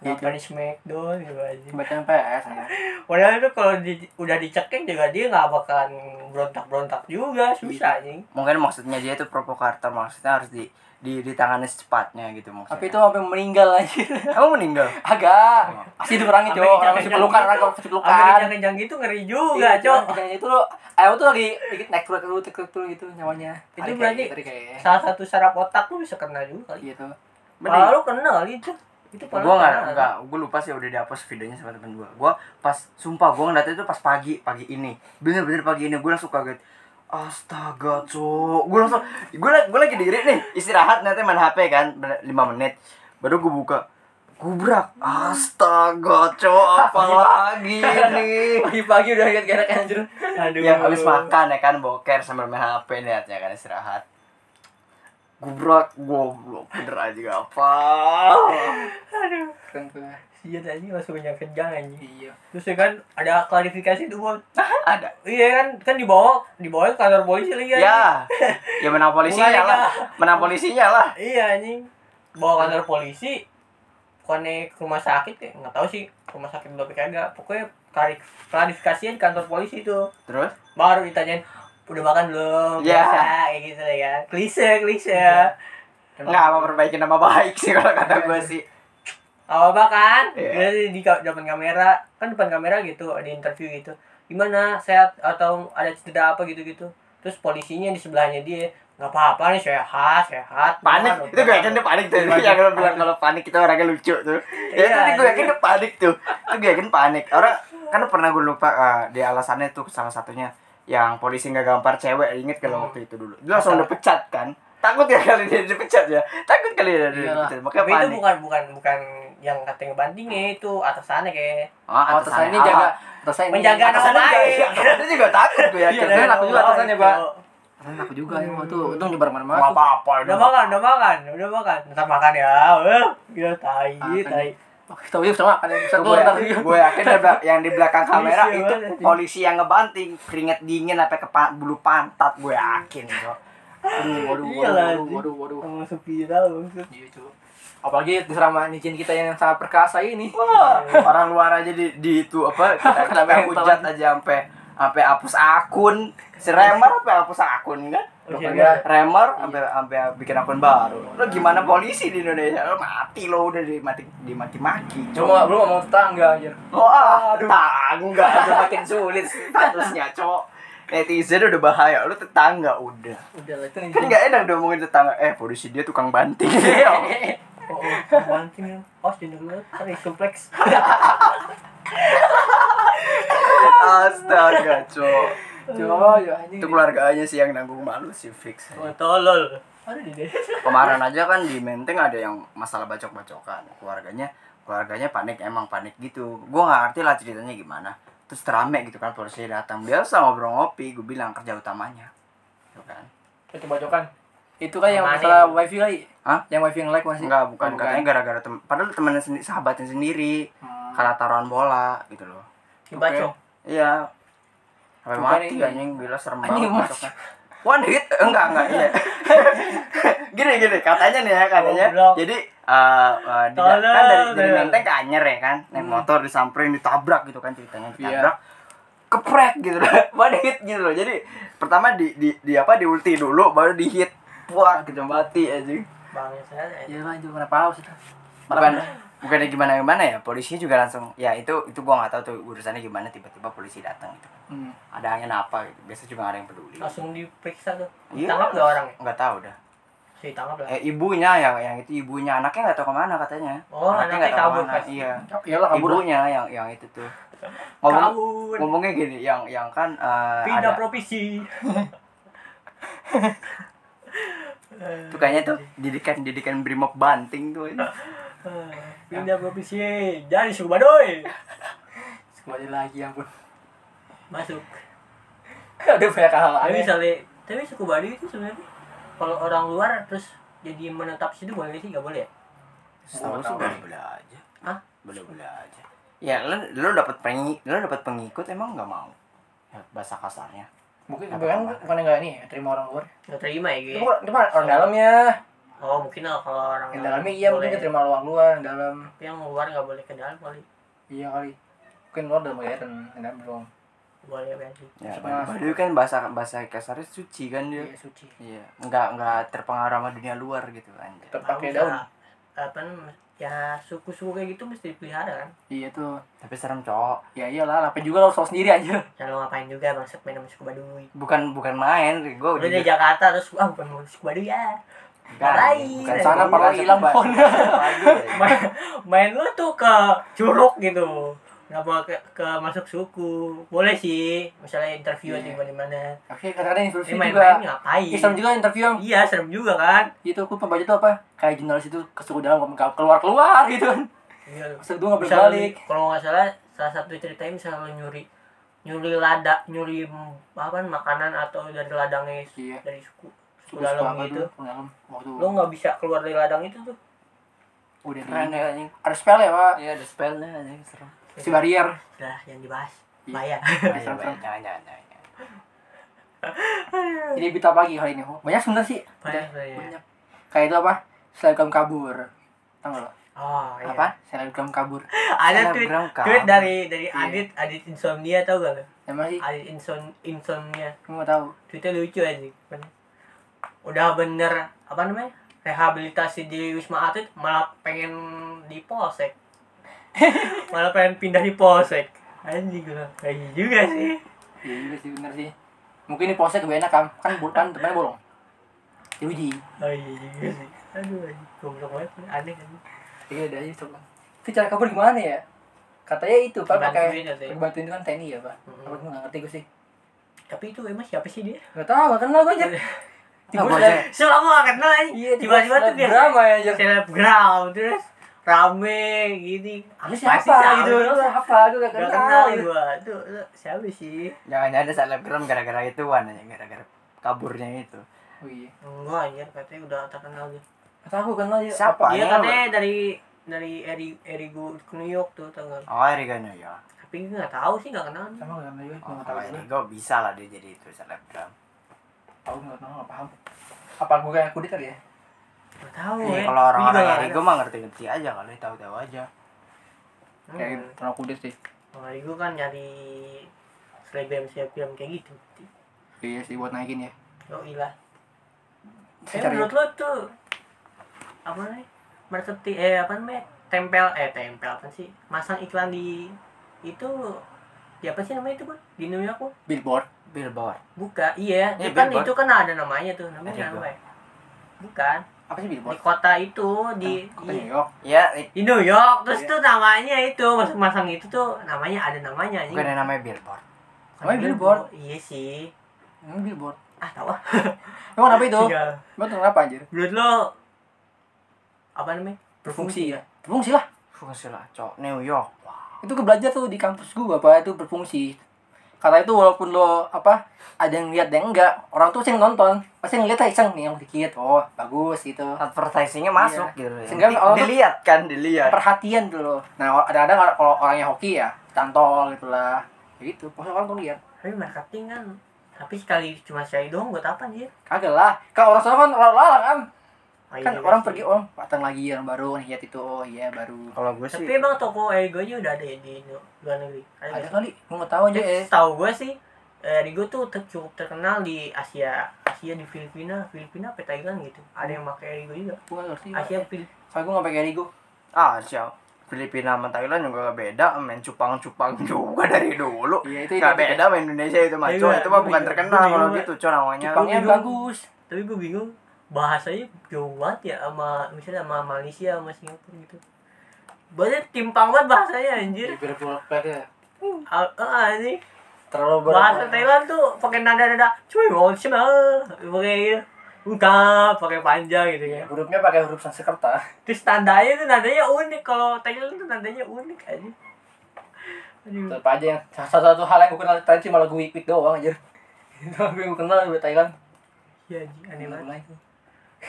[SPEAKER 3] Nonton di Smackdown gitu aja.
[SPEAKER 4] Bacaan PS ya.
[SPEAKER 3] Padahal itu kalau di- udah dicekeng juga dia nggak bakalan berontak-berontak juga,
[SPEAKER 2] Iya.
[SPEAKER 3] susah anjing.
[SPEAKER 2] mungkin maksudnya dia itu provokator maksudnya harus di di ditangani secepatnya gitu maksudnya
[SPEAKER 4] Tapi itu sampai meninggal aja.
[SPEAKER 2] kamu meninggal
[SPEAKER 4] Agak. Pasti dikurangin
[SPEAKER 3] Sampai
[SPEAKER 4] cowok. Orang masih
[SPEAKER 3] kejang-kejang
[SPEAKER 4] pelukan,
[SPEAKER 3] gitu.
[SPEAKER 4] orang masih
[SPEAKER 3] Sampai
[SPEAKER 4] pelukan.
[SPEAKER 3] kejang-kejang gitu ngeri juga,
[SPEAKER 2] Iya.
[SPEAKER 3] Cok.
[SPEAKER 4] Jangan itu lo. Ayo tuh lagi dikit naik turun turun turun turun gitu nyawanya.
[SPEAKER 3] Itu
[SPEAKER 4] Tarik kayak-
[SPEAKER 3] berarti-
[SPEAKER 4] tarik kayak
[SPEAKER 3] Salah satu saraf otak lu bisa kena juga kali.
[SPEAKER 4] gitu.
[SPEAKER 3] Pala lu kena kali itu. Itu pala
[SPEAKER 2] gue Iya. nggak
[SPEAKER 3] kena.
[SPEAKER 2] nggak gue lupa sih udah dihapus videonya sama temen gue gue pas sumpah gue ngeliatnya itu pas pagi pagi ini bener-bener pagi ini gue langsung kaget astaga cok gue langsung gue gue lagi diri nih istirahat nanti main hp kan bener- lima menit baru gue buka gubrak astaga cok apa lagi nih
[SPEAKER 4] Pagi-pagi udah lihat gerak anjir.
[SPEAKER 3] Aduh.
[SPEAKER 2] yang habis makan ya kan boker sambil main hp liatnya kan istirahat gubrak goblok bener aja apa
[SPEAKER 3] Aduh.
[SPEAKER 4] Keren tuh.
[SPEAKER 3] Iya anjing langsung banyak kejang anjing.
[SPEAKER 4] Iya.
[SPEAKER 3] Terus ya kan ada klarifikasi tuh Bon.
[SPEAKER 2] ada
[SPEAKER 3] Iya kan kan dibawa dibawa ke kantor polisi lagi anjing.
[SPEAKER 2] Ya, ya menang polisinya
[SPEAKER 3] Iya, Mulai,
[SPEAKER 2] lah,
[SPEAKER 3] Kak.
[SPEAKER 2] menang polisinya lah.
[SPEAKER 3] Iya anjing. Bawa kantor polisi bukannya ke rumah sakit ya nggak tahu sih rumah sakit udah kagak pokoknya klarif klarifikasinya di kantor polisi itu
[SPEAKER 2] Terus?
[SPEAKER 3] baru ditanyain udah makan belum
[SPEAKER 2] Ya.
[SPEAKER 3] biasa kayak gitu lah ya klise klise
[SPEAKER 2] Iya. Nggak mau perbaiki nama baik sih kalau
[SPEAKER 3] Iya,
[SPEAKER 2] kata gue sih.
[SPEAKER 3] apa apa kan
[SPEAKER 2] Iya.
[SPEAKER 3] Jadi di ka- depan kamera kan depan kamera gitu ada interview gitu gimana sehat atau ada cedera apa gitu gitu terus polisinya di sebelahnya dia nggak apa-apa nih sehat sehat
[SPEAKER 2] Panik, itu gue yakin dia panik tuh.
[SPEAKER 3] Panik.
[SPEAKER 2] Yang lo bilang kalau panik itu orangnya lucu tuh. Ya
[SPEAKER 3] Iya,
[SPEAKER 2] tadi gue
[SPEAKER 3] iya.
[SPEAKER 2] yakin dia panik tuh. Itu gue yakin panik. Orang kan pernah gue lupa eh, di alasannya tuh salah satunya yang polisi nggak gampar cewek inget kalau waktu itu dulu. Dia langsung dipecat kan. Takut ya kali dia dipecat ya. Takut kali dia
[SPEAKER 4] Iyalah.
[SPEAKER 2] dipecat. Makanya
[SPEAKER 3] tapi itu
[SPEAKER 2] panik.
[SPEAKER 3] bukan bukan bukan yang katanya bantingnya itu atasannya kayak
[SPEAKER 4] Oh,
[SPEAKER 2] Ah,
[SPEAKER 4] atasannya
[SPEAKER 2] atasannya
[SPEAKER 4] ini jaga. Atasannya ini.
[SPEAKER 3] Menjaga nama
[SPEAKER 2] Atasannya juga,
[SPEAKER 3] baik.
[SPEAKER 2] iya, atasannya juga takut gue
[SPEAKER 4] Iya,
[SPEAKER 2] yakin.
[SPEAKER 4] dan aku juga atasannya, Pak.
[SPEAKER 3] Gitu.
[SPEAKER 4] Atasannya aku juga yang waktu untung nyebar mana-mana.
[SPEAKER 2] Nggak apa-apa.
[SPEAKER 3] udah makan udah makan udah makan ntar makan ya eh ya tai
[SPEAKER 4] Makan.
[SPEAKER 3] tai
[SPEAKER 4] Oke, tahu ya sama kan yang bisa
[SPEAKER 2] gue
[SPEAKER 4] tuh ntar juga.
[SPEAKER 2] gue yakin dia belak- yang di belakang kamera
[SPEAKER 3] Polisi
[SPEAKER 2] itu
[SPEAKER 3] banget.
[SPEAKER 2] polisi yang ngebanting keringet dingin sampai ke pa- bulu pantat gue yakin bro.
[SPEAKER 4] Aduh, waduh, waduh,
[SPEAKER 3] Iya lah,
[SPEAKER 4] waduh,
[SPEAKER 3] anjing.
[SPEAKER 4] waduh, waduh.
[SPEAKER 3] sama viral maksud
[SPEAKER 4] Iya, Cuk. Apalagi di asrama izin kita yang sangat perkasa ini.
[SPEAKER 2] orang luar aja di, di itu apa kita, kita
[SPEAKER 4] Kenapa yang
[SPEAKER 2] hujat aja sampai sampai hapus akun si Remar sampai hapus akun kan
[SPEAKER 4] Makanya
[SPEAKER 2] Remar sampai sampai bikin akun baru lo gimana polisi di Indonesia lo mati lo udah dimati dimaki-maki
[SPEAKER 4] cuma belum ngomong tetangga anjir.
[SPEAKER 2] Wah, ah, tetangga udah makin sulit statusnya, cowok. Netizen udah bahaya, lu tetangga udah.
[SPEAKER 4] Udah lah itu nih.
[SPEAKER 2] Kan nggak enak ngomongin tetangga, eh polisi dia tukang banting. Iya.
[SPEAKER 3] oh oh, banting ya oh di dulu tadi kompleks
[SPEAKER 2] Astaga, cowok.
[SPEAKER 4] Cuma ya anjing.
[SPEAKER 2] Itu keluarganya sih yang nanggung malu sih fix.
[SPEAKER 3] oh tolol aduh di deh
[SPEAKER 2] Kemarin aja kan di Menteng ada yang masalah bacok-bacokan. Keluarganya keluarganya panik emang panik gitu. Gua nggak ngerti lah ceritanya gimana. Terus terame gitu kan polisi datang biasa ngobrol ngopi, gue bilang kerja utamanya. Gitu kan.
[SPEAKER 4] Itu bacokan. Itu kan yang
[SPEAKER 3] Kemarin.
[SPEAKER 4] masalah wifi kali.
[SPEAKER 2] Hah?
[SPEAKER 4] Yang wifi yang like masih.
[SPEAKER 2] Enggak, bukan
[SPEAKER 4] Oh,
[SPEAKER 2] katanya gara-gara tem padahal temannya sendiri, sahabatnya sendiri
[SPEAKER 4] Hmm.
[SPEAKER 2] kalah taruhan bola gitu loh.
[SPEAKER 3] dibacok
[SPEAKER 2] Iya. Sampai
[SPEAKER 4] Bukan
[SPEAKER 2] mati
[SPEAKER 4] ini.
[SPEAKER 2] anjing gila serem
[SPEAKER 4] Anjing,
[SPEAKER 2] banget
[SPEAKER 4] Mas.
[SPEAKER 2] masuknya. One hit enggak enggak iya. gini gini katanya nih ya katanya.
[SPEAKER 3] Goblok.
[SPEAKER 2] Jadi eh, eh, di-
[SPEAKER 3] Tolong,
[SPEAKER 2] kan dari dari
[SPEAKER 3] ya.
[SPEAKER 2] menteng ke Anyer ya kan. Naik motor disamperin ditabrak gitu kan ceritanya
[SPEAKER 4] Iya.
[SPEAKER 2] ditabrak. Keprek gitu loh. One hit gitu loh. Jadi pertama di di, di apa di ulti dulu baru di hit. Wah, kejam mati anjing.
[SPEAKER 3] bang saya eh.
[SPEAKER 4] Iya kan itu kenapa haus itu.
[SPEAKER 2] bukan bukannya gimana gimana ya polisi juga langsung ya itu itu gua nggak tahu tuh urusannya gimana tiba-tiba polisi datang gitu
[SPEAKER 4] Hmm.
[SPEAKER 2] ada angin apa gitu biasa juga nggak ada yang peduli
[SPEAKER 3] langsung diperiksa tuh
[SPEAKER 2] Iya.
[SPEAKER 3] ditangkap gak orangnya
[SPEAKER 2] nggak tahu dah
[SPEAKER 3] ditangkap lah
[SPEAKER 2] eh ibunya yang yang itu ibunya anaknya nggak tahu kemana katanya
[SPEAKER 3] Oh, anaknya
[SPEAKER 2] nggak tahu
[SPEAKER 3] kabur
[SPEAKER 2] kemana.
[SPEAKER 3] pasti.
[SPEAKER 2] iya
[SPEAKER 4] Iyalah kabur.
[SPEAKER 2] ibunya yang yang itu tuh ngomong
[SPEAKER 3] kawun
[SPEAKER 2] ngomongnya gini yang yang kan eh,
[SPEAKER 3] pindah
[SPEAKER 2] ada
[SPEAKER 3] provinsi
[SPEAKER 2] tuh kayaknya tuh didikan didikan brimob banting tuh
[SPEAKER 3] Oh, Eh, pindah provinsi jadi suku baduy
[SPEAKER 4] Kembali lagi ampun.
[SPEAKER 3] masuk
[SPEAKER 4] Udah banyak hal
[SPEAKER 3] tapi
[SPEAKER 4] aneh.
[SPEAKER 3] misalnya tapi suku baduy itu sebenarnya kalau orang luar terus jadi menetap situ boleh sih nggak boleh ya?
[SPEAKER 2] Setahu sih
[SPEAKER 4] Tahu.
[SPEAKER 2] boleh-boleh aja.
[SPEAKER 3] Hah?
[SPEAKER 2] Boleh-boleh aja. Ya, lu lu dapat pengi, lu dapat pengikut emang nggak mau. Ya, bahasa kasarnya.
[SPEAKER 4] Mungkin bukan bukan enggak ini ya terima orang luar.
[SPEAKER 3] nggak terima ya
[SPEAKER 4] Itu
[SPEAKER 3] gitu
[SPEAKER 4] bukan- itu bukan orang dalamnya.
[SPEAKER 3] oh mungkin lah kalau orang
[SPEAKER 4] yang ya. dalamnya iya mungkin dia
[SPEAKER 3] boleh.
[SPEAKER 4] terima luar luar yang dalam
[SPEAKER 3] tapi yang luar nggak boleh ke dalam kali
[SPEAKER 4] iya kali mungkin luar udah modern yang dalam belum
[SPEAKER 3] boleh berarti
[SPEAKER 2] Ya,
[SPEAKER 4] Nah,
[SPEAKER 2] Baduy kan bahasa bahasa kasarnya suci kan dia.
[SPEAKER 4] iya suci
[SPEAKER 2] Iya, enggak enggak terpengaruh sama dunia luar gitu anjir.
[SPEAKER 4] terpakai
[SPEAKER 3] Bagus
[SPEAKER 4] daun
[SPEAKER 3] lah. apa namanya, ya suku-suku kayak gitu mesti dipelihara kan
[SPEAKER 4] iya tuh
[SPEAKER 2] Tapi serem, Cok.
[SPEAKER 4] ya iyalah apa juga lo tahu sendiri aja
[SPEAKER 3] ya lo ngapain juga maksud main sama suku baduy
[SPEAKER 2] Bukan bukan main,
[SPEAKER 4] Oh,
[SPEAKER 2] gue
[SPEAKER 3] udah
[SPEAKER 4] iya.
[SPEAKER 3] dari Jakarta terus ah bukan mau suku baduy ya ngapain?
[SPEAKER 2] bukan
[SPEAKER 3] Dari
[SPEAKER 4] sana
[SPEAKER 2] Baduy,
[SPEAKER 4] parah
[SPEAKER 2] bahasa
[SPEAKER 4] hilang
[SPEAKER 2] Sumba.
[SPEAKER 4] pohon.
[SPEAKER 2] Baduy, ya.
[SPEAKER 3] main, main lu tuh ke curug gitu nggak mau ke, ke masuk suku boleh sih misalnya interview
[SPEAKER 4] Iya.
[SPEAKER 3] atau gimana mana
[SPEAKER 4] oke kadang-kadang interview
[SPEAKER 3] ini main-main ya.
[SPEAKER 4] juga
[SPEAKER 3] ngapain
[SPEAKER 4] Islam juga interview yang
[SPEAKER 3] iya serem juga kan
[SPEAKER 4] itu aku pembaca tuh apa kayak jurnalis itu ke suku dalam nggak keluar keluar gitu kan
[SPEAKER 3] iya.
[SPEAKER 4] maksud gue nggak
[SPEAKER 3] Misal-
[SPEAKER 4] berbalik
[SPEAKER 3] kalau nggak salah salah satu ceritanya misalnya lu nyuri nyuri lada nyuri mm, apa makanan atau dari ladangnya
[SPEAKER 4] iya
[SPEAKER 3] dari suku suku
[SPEAKER 4] suku dalam
[SPEAKER 3] dalam gitu
[SPEAKER 4] suku dalam waktu
[SPEAKER 3] lu nggak bisa keluar dari ladang itu tuh
[SPEAKER 4] udah di
[SPEAKER 2] Keren ya anjing.
[SPEAKER 4] ada spell ya pak
[SPEAKER 2] Iya, ada spellnya anjing serem.
[SPEAKER 4] si barrier
[SPEAKER 3] nah yang dibahas
[SPEAKER 4] Iya.
[SPEAKER 3] bahaya
[SPEAKER 2] Ayo,
[SPEAKER 4] serem,
[SPEAKER 2] Bay,
[SPEAKER 4] serem.
[SPEAKER 2] Jangan jangan jangan.
[SPEAKER 4] jadi berita pagi hari ini Oh, banyak sebenarnya sih
[SPEAKER 3] bahaya
[SPEAKER 4] Udah,
[SPEAKER 3] bahaya.
[SPEAKER 4] banyak kayak itu apa selebgram kabur tau nggak lo
[SPEAKER 3] oh iya.
[SPEAKER 4] apa selebgram kabur
[SPEAKER 3] ada tweet
[SPEAKER 2] Selebgram kamu.
[SPEAKER 3] tweet dari dari
[SPEAKER 4] Iya.
[SPEAKER 3] Adit Adit insomnia tau gak lo
[SPEAKER 4] emang sih
[SPEAKER 3] Adit insom insomnia
[SPEAKER 4] gue nggak tahu
[SPEAKER 3] tweetnya lucu aja udah bener apa namanya rehabilitasi di wisma atlet malah pengen di polsek malah pengen pindah di polsek anjing gue lagi juga sih
[SPEAKER 4] iya juga sih bener sih mungkin ini polsek gue enak kan kan bol- kan temannya bolong Ya diuji
[SPEAKER 3] oh iya juga sih aduh anjing goblok banget aneh kan
[SPEAKER 4] iya ada aja coba itu cara kabur gimana ya katanya itu pak pakai
[SPEAKER 3] Dibantuin ya, Teh. Mm-hmm.
[SPEAKER 4] bantuin itu kan TNI ya pak
[SPEAKER 3] Mm-mm.
[SPEAKER 4] apa gue nggak ngerti gue sih
[SPEAKER 3] tapi itu emang siapa sih dia
[SPEAKER 4] nggak tahu nggak kenal gue aja
[SPEAKER 3] Iya.
[SPEAKER 4] tiba
[SPEAKER 2] Ah, bocah.
[SPEAKER 3] selama gak kenal anjing
[SPEAKER 4] iya
[SPEAKER 3] tiba-tiba tuh dia
[SPEAKER 4] drama ya aja
[SPEAKER 3] selebgram terus rame gini
[SPEAKER 4] Ini
[SPEAKER 3] Apa sih,
[SPEAKER 4] siapa gitu? Lu Siapa? Gue gak
[SPEAKER 3] Gak
[SPEAKER 4] kenal. gitu.
[SPEAKER 3] kenal gua tuh tuh, siapa sih
[SPEAKER 2] Jangan jangan ada selebgram gara-gara ituan anjing, gara-gara kaburnya itu.
[SPEAKER 4] Oh iya.
[SPEAKER 3] enggak anjir katanya udah terkenal gitu. dia
[SPEAKER 4] Kata aku kenal ya. dia.
[SPEAKER 2] Siapa?
[SPEAKER 3] dia
[SPEAKER 2] Aneh,
[SPEAKER 3] katanya Iya, dari dari Eri Erigo ke New York tuh tanggal
[SPEAKER 2] Oh, Erigo New York.
[SPEAKER 3] tapi gue nggak tahu sih nggak kenal dia.
[SPEAKER 4] Sama gak kenal juga. Gue
[SPEAKER 2] Oh,
[SPEAKER 4] gak tau.
[SPEAKER 2] kalau Erigo bisa lah dia jadi itu selebgram.
[SPEAKER 4] Tahu gak kenal gak paham. Apa gue kayak kudit kali ya?
[SPEAKER 3] nggak tahu
[SPEAKER 2] Iya,
[SPEAKER 3] ya
[SPEAKER 2] kalau orang-orang
[SPEAKER 3] Gua juga
[SPEAKER 2] Erigo mah ngerti-ngerti aja kalau tahu-tahu aja.
[SPEAKER 3] nggak
[SPEAKER 4] Kayak
[SPEAKER 2] gitu.
[SPEAKER 3] kenal.
[SPEAKER 4] kenal kudit sih.
[SPEAKER 3] Hmm. Kalau Erigo kan nyari selebgram selebgram kayak gitu
[SPEAKER 4] Iya sih buat naikin ya.
[SPEAKER 3] yo ilah eh,
[SPEAKER 4] Cari.
[SPEAKER 3] menurut lo tuh apa namanya marketing eh apa namanya tempel eh tempel apa sih masang iklan di itu di apa sih namanya itu bang di New York Bang?
[SPEAKER 4] Billboard.
[SPEAKER 2] Billboard.
[SPEAKER 3] Buka, iya.
[SPEAKER 2] Iya,
[SPEAKER 3] Itu kan
[SPEAKER 2] billboard.
[SPEAKER 3] itu kan ada namanya tuh, namanya
[SPEAKER 2] Ada
[SPEAKER 3] apa ya? Bukan.
[SPEAKER 4] Apa sih
[SPEAKER 3] Di
[SPEAKER 4] billboard?
[SPEAKER 3] kota itu di
[SPEAKER 4] Kota New
[SPEAKER 3] di,
[SPEAKER 4] York.
[SPEAKER 2] Ya, i-
[SPEAKER 3] di New York terus
[SPEAKER 4] Iya.
[SPEAKER 3] tuh namanya itu masang-masang itu tuh namanya ada namanya anjing.
[SPEAKER 2] bukan yang namanya Billboard.
[SPEAKER 3] Bukan
[SPEAKER 4] namanya Oh, billboard.
[SPEAKER 3] Iya sih.
[SPEAKER 4] Emang billboard.
[SPEAKER 3] Ah, tahu ah.
[SPEAKER 4] Emang kenapa itu?
[SPEAKER 3] Iya.
[SPEAKER 4] Emang tuh kenapa anjir?
[SPEAKER 3] Menurut lo apa namanya?
[SPEAKER 4] Berfungsi ya. Berfungsi lah.
[SPEAKER 2] Fungsi lah, cok. New York.
[SPEAKER 4] Itu gue belajar tuh di kampus gue apa itu berfungsi. Kata itu walaupun lo apa ada yang lihat dan enggak, orang tuh pasti nonton. Pasti ngeliat lah iseng nih yang dikit. Oh, bagus gitu.
[SPEAKER 2] Advertisingnya masuk
[SPEAKER 4] Iya.
[SPEAKER 2] gitu. Yang
[SPEAKER 4] Sehingga
[SPEAKER 2] penting
[SPEAKER 4] orang tuh-
[SPEAKER 2] dilihat kan,
[SPEAKER 3] Iya,
[SPEAKER 2] dilihat.
[SPEAKER 4] perhatian tuh loh. Nah, ada ada kalau orangnya hoki ya, cantol gitu lah. Ya gitu, pokoknya orang tuh lihat.
[SPEAKER 3] Tapi marketing kan tapi sekali cuma sekali doang buat apa anjir?
[SPEAKER 4] Kagak lah. Kalau orang sana kan orang larang kan.
[SPEAKER 3] Oh, iya
[SPEAKER 4] Kan
[SPEAKER 3] juga
[SPEAKER 4] orang
[SPEAKER 3] sih.
[SPEAKER 4] pergi orang datang lagi yang baru lihat itu. Oh iya, baru.
[SPEAKER 2] Kalau gue sih
[SPEAKER 3] Tapi emang toko egonya udah ada ya di nu- luar negeri. Ada nggak
[SPEAKER 4] Ada kan
[SPEAKER 3] sih?
[SPEAKER 4] kali, gua nggak tahu aja.
[SPEAKER 3] Jadi setahu gue sih eh, Rigo tuh ter- cukup terkenal di Asia Asia di Filipina Filipina apa Thailand gitu ada yang pakai Rigo juga
[SPEAKER 4] Gua nggak ngerti.
[SPEAKER 3] Asia Fil
[SPEAKER 4] Soalnya gua nggak pakai Rigo.
[SPEAKER 2] ah, siap. Filipina sama Thailand juga beda, main cupang-cupang juga dari dulu.
[SPEAKER 4] Iya, itu itu.
[SPEAKER 2] Gak beda sama Indonesia itu mah,
[SPEAKER 3] Iya,
[SPEAKER 2] Cok. Itu mah
[SPEAKER 3] gua
[SPEAKER 2] bukan
[SPEAKER 3] juga-
[SPEAKER 2] terkenal
[SPEAKER 3] gua juga.
[SPEAKER 2] kalau gitu, Cok namanya.
[SPEAKER 4] Jepangnya
[SPEAKER 3] Rigo.
[SPEAKER 4] bagus.
[SPEAKER 3] Iya, tapi gue bingung bahasanya jauh banget ya sama misalnya sama Malaysia sama Singapura gitu banyak timpang banget bahasanya
[SPEAKER 4] Iya.
[SPEAKER 3] anjir
[SPEAKER 4] Beda-beda.
[SPEAKER 3] ah ah, anjing
[SPEAKER 4] Terlalu
[SPEAKER 3] bahasa Thailand tuh pakai nada nada cuy mau cuma pakai enggak pakai panjang gitu ya
[SPEAKER 4] Iya, Hurufnya pakai huruf Sanskerta.
[SPEAKER 3] terus nadanya tuh nadanya unik kalau Thailand tuh nadanya unik aja Aduh.
[SPEAKER 4] Tetap aja yang satu satu hal yang gue kenal dari Thailand cuma lagu Week Week doang aja. Itu lagu yang gue kenal dari Thailand.
[SPEAKER 3] Iya, anjing, aneh banget.
[SPEAKER 4] Mulai tuh.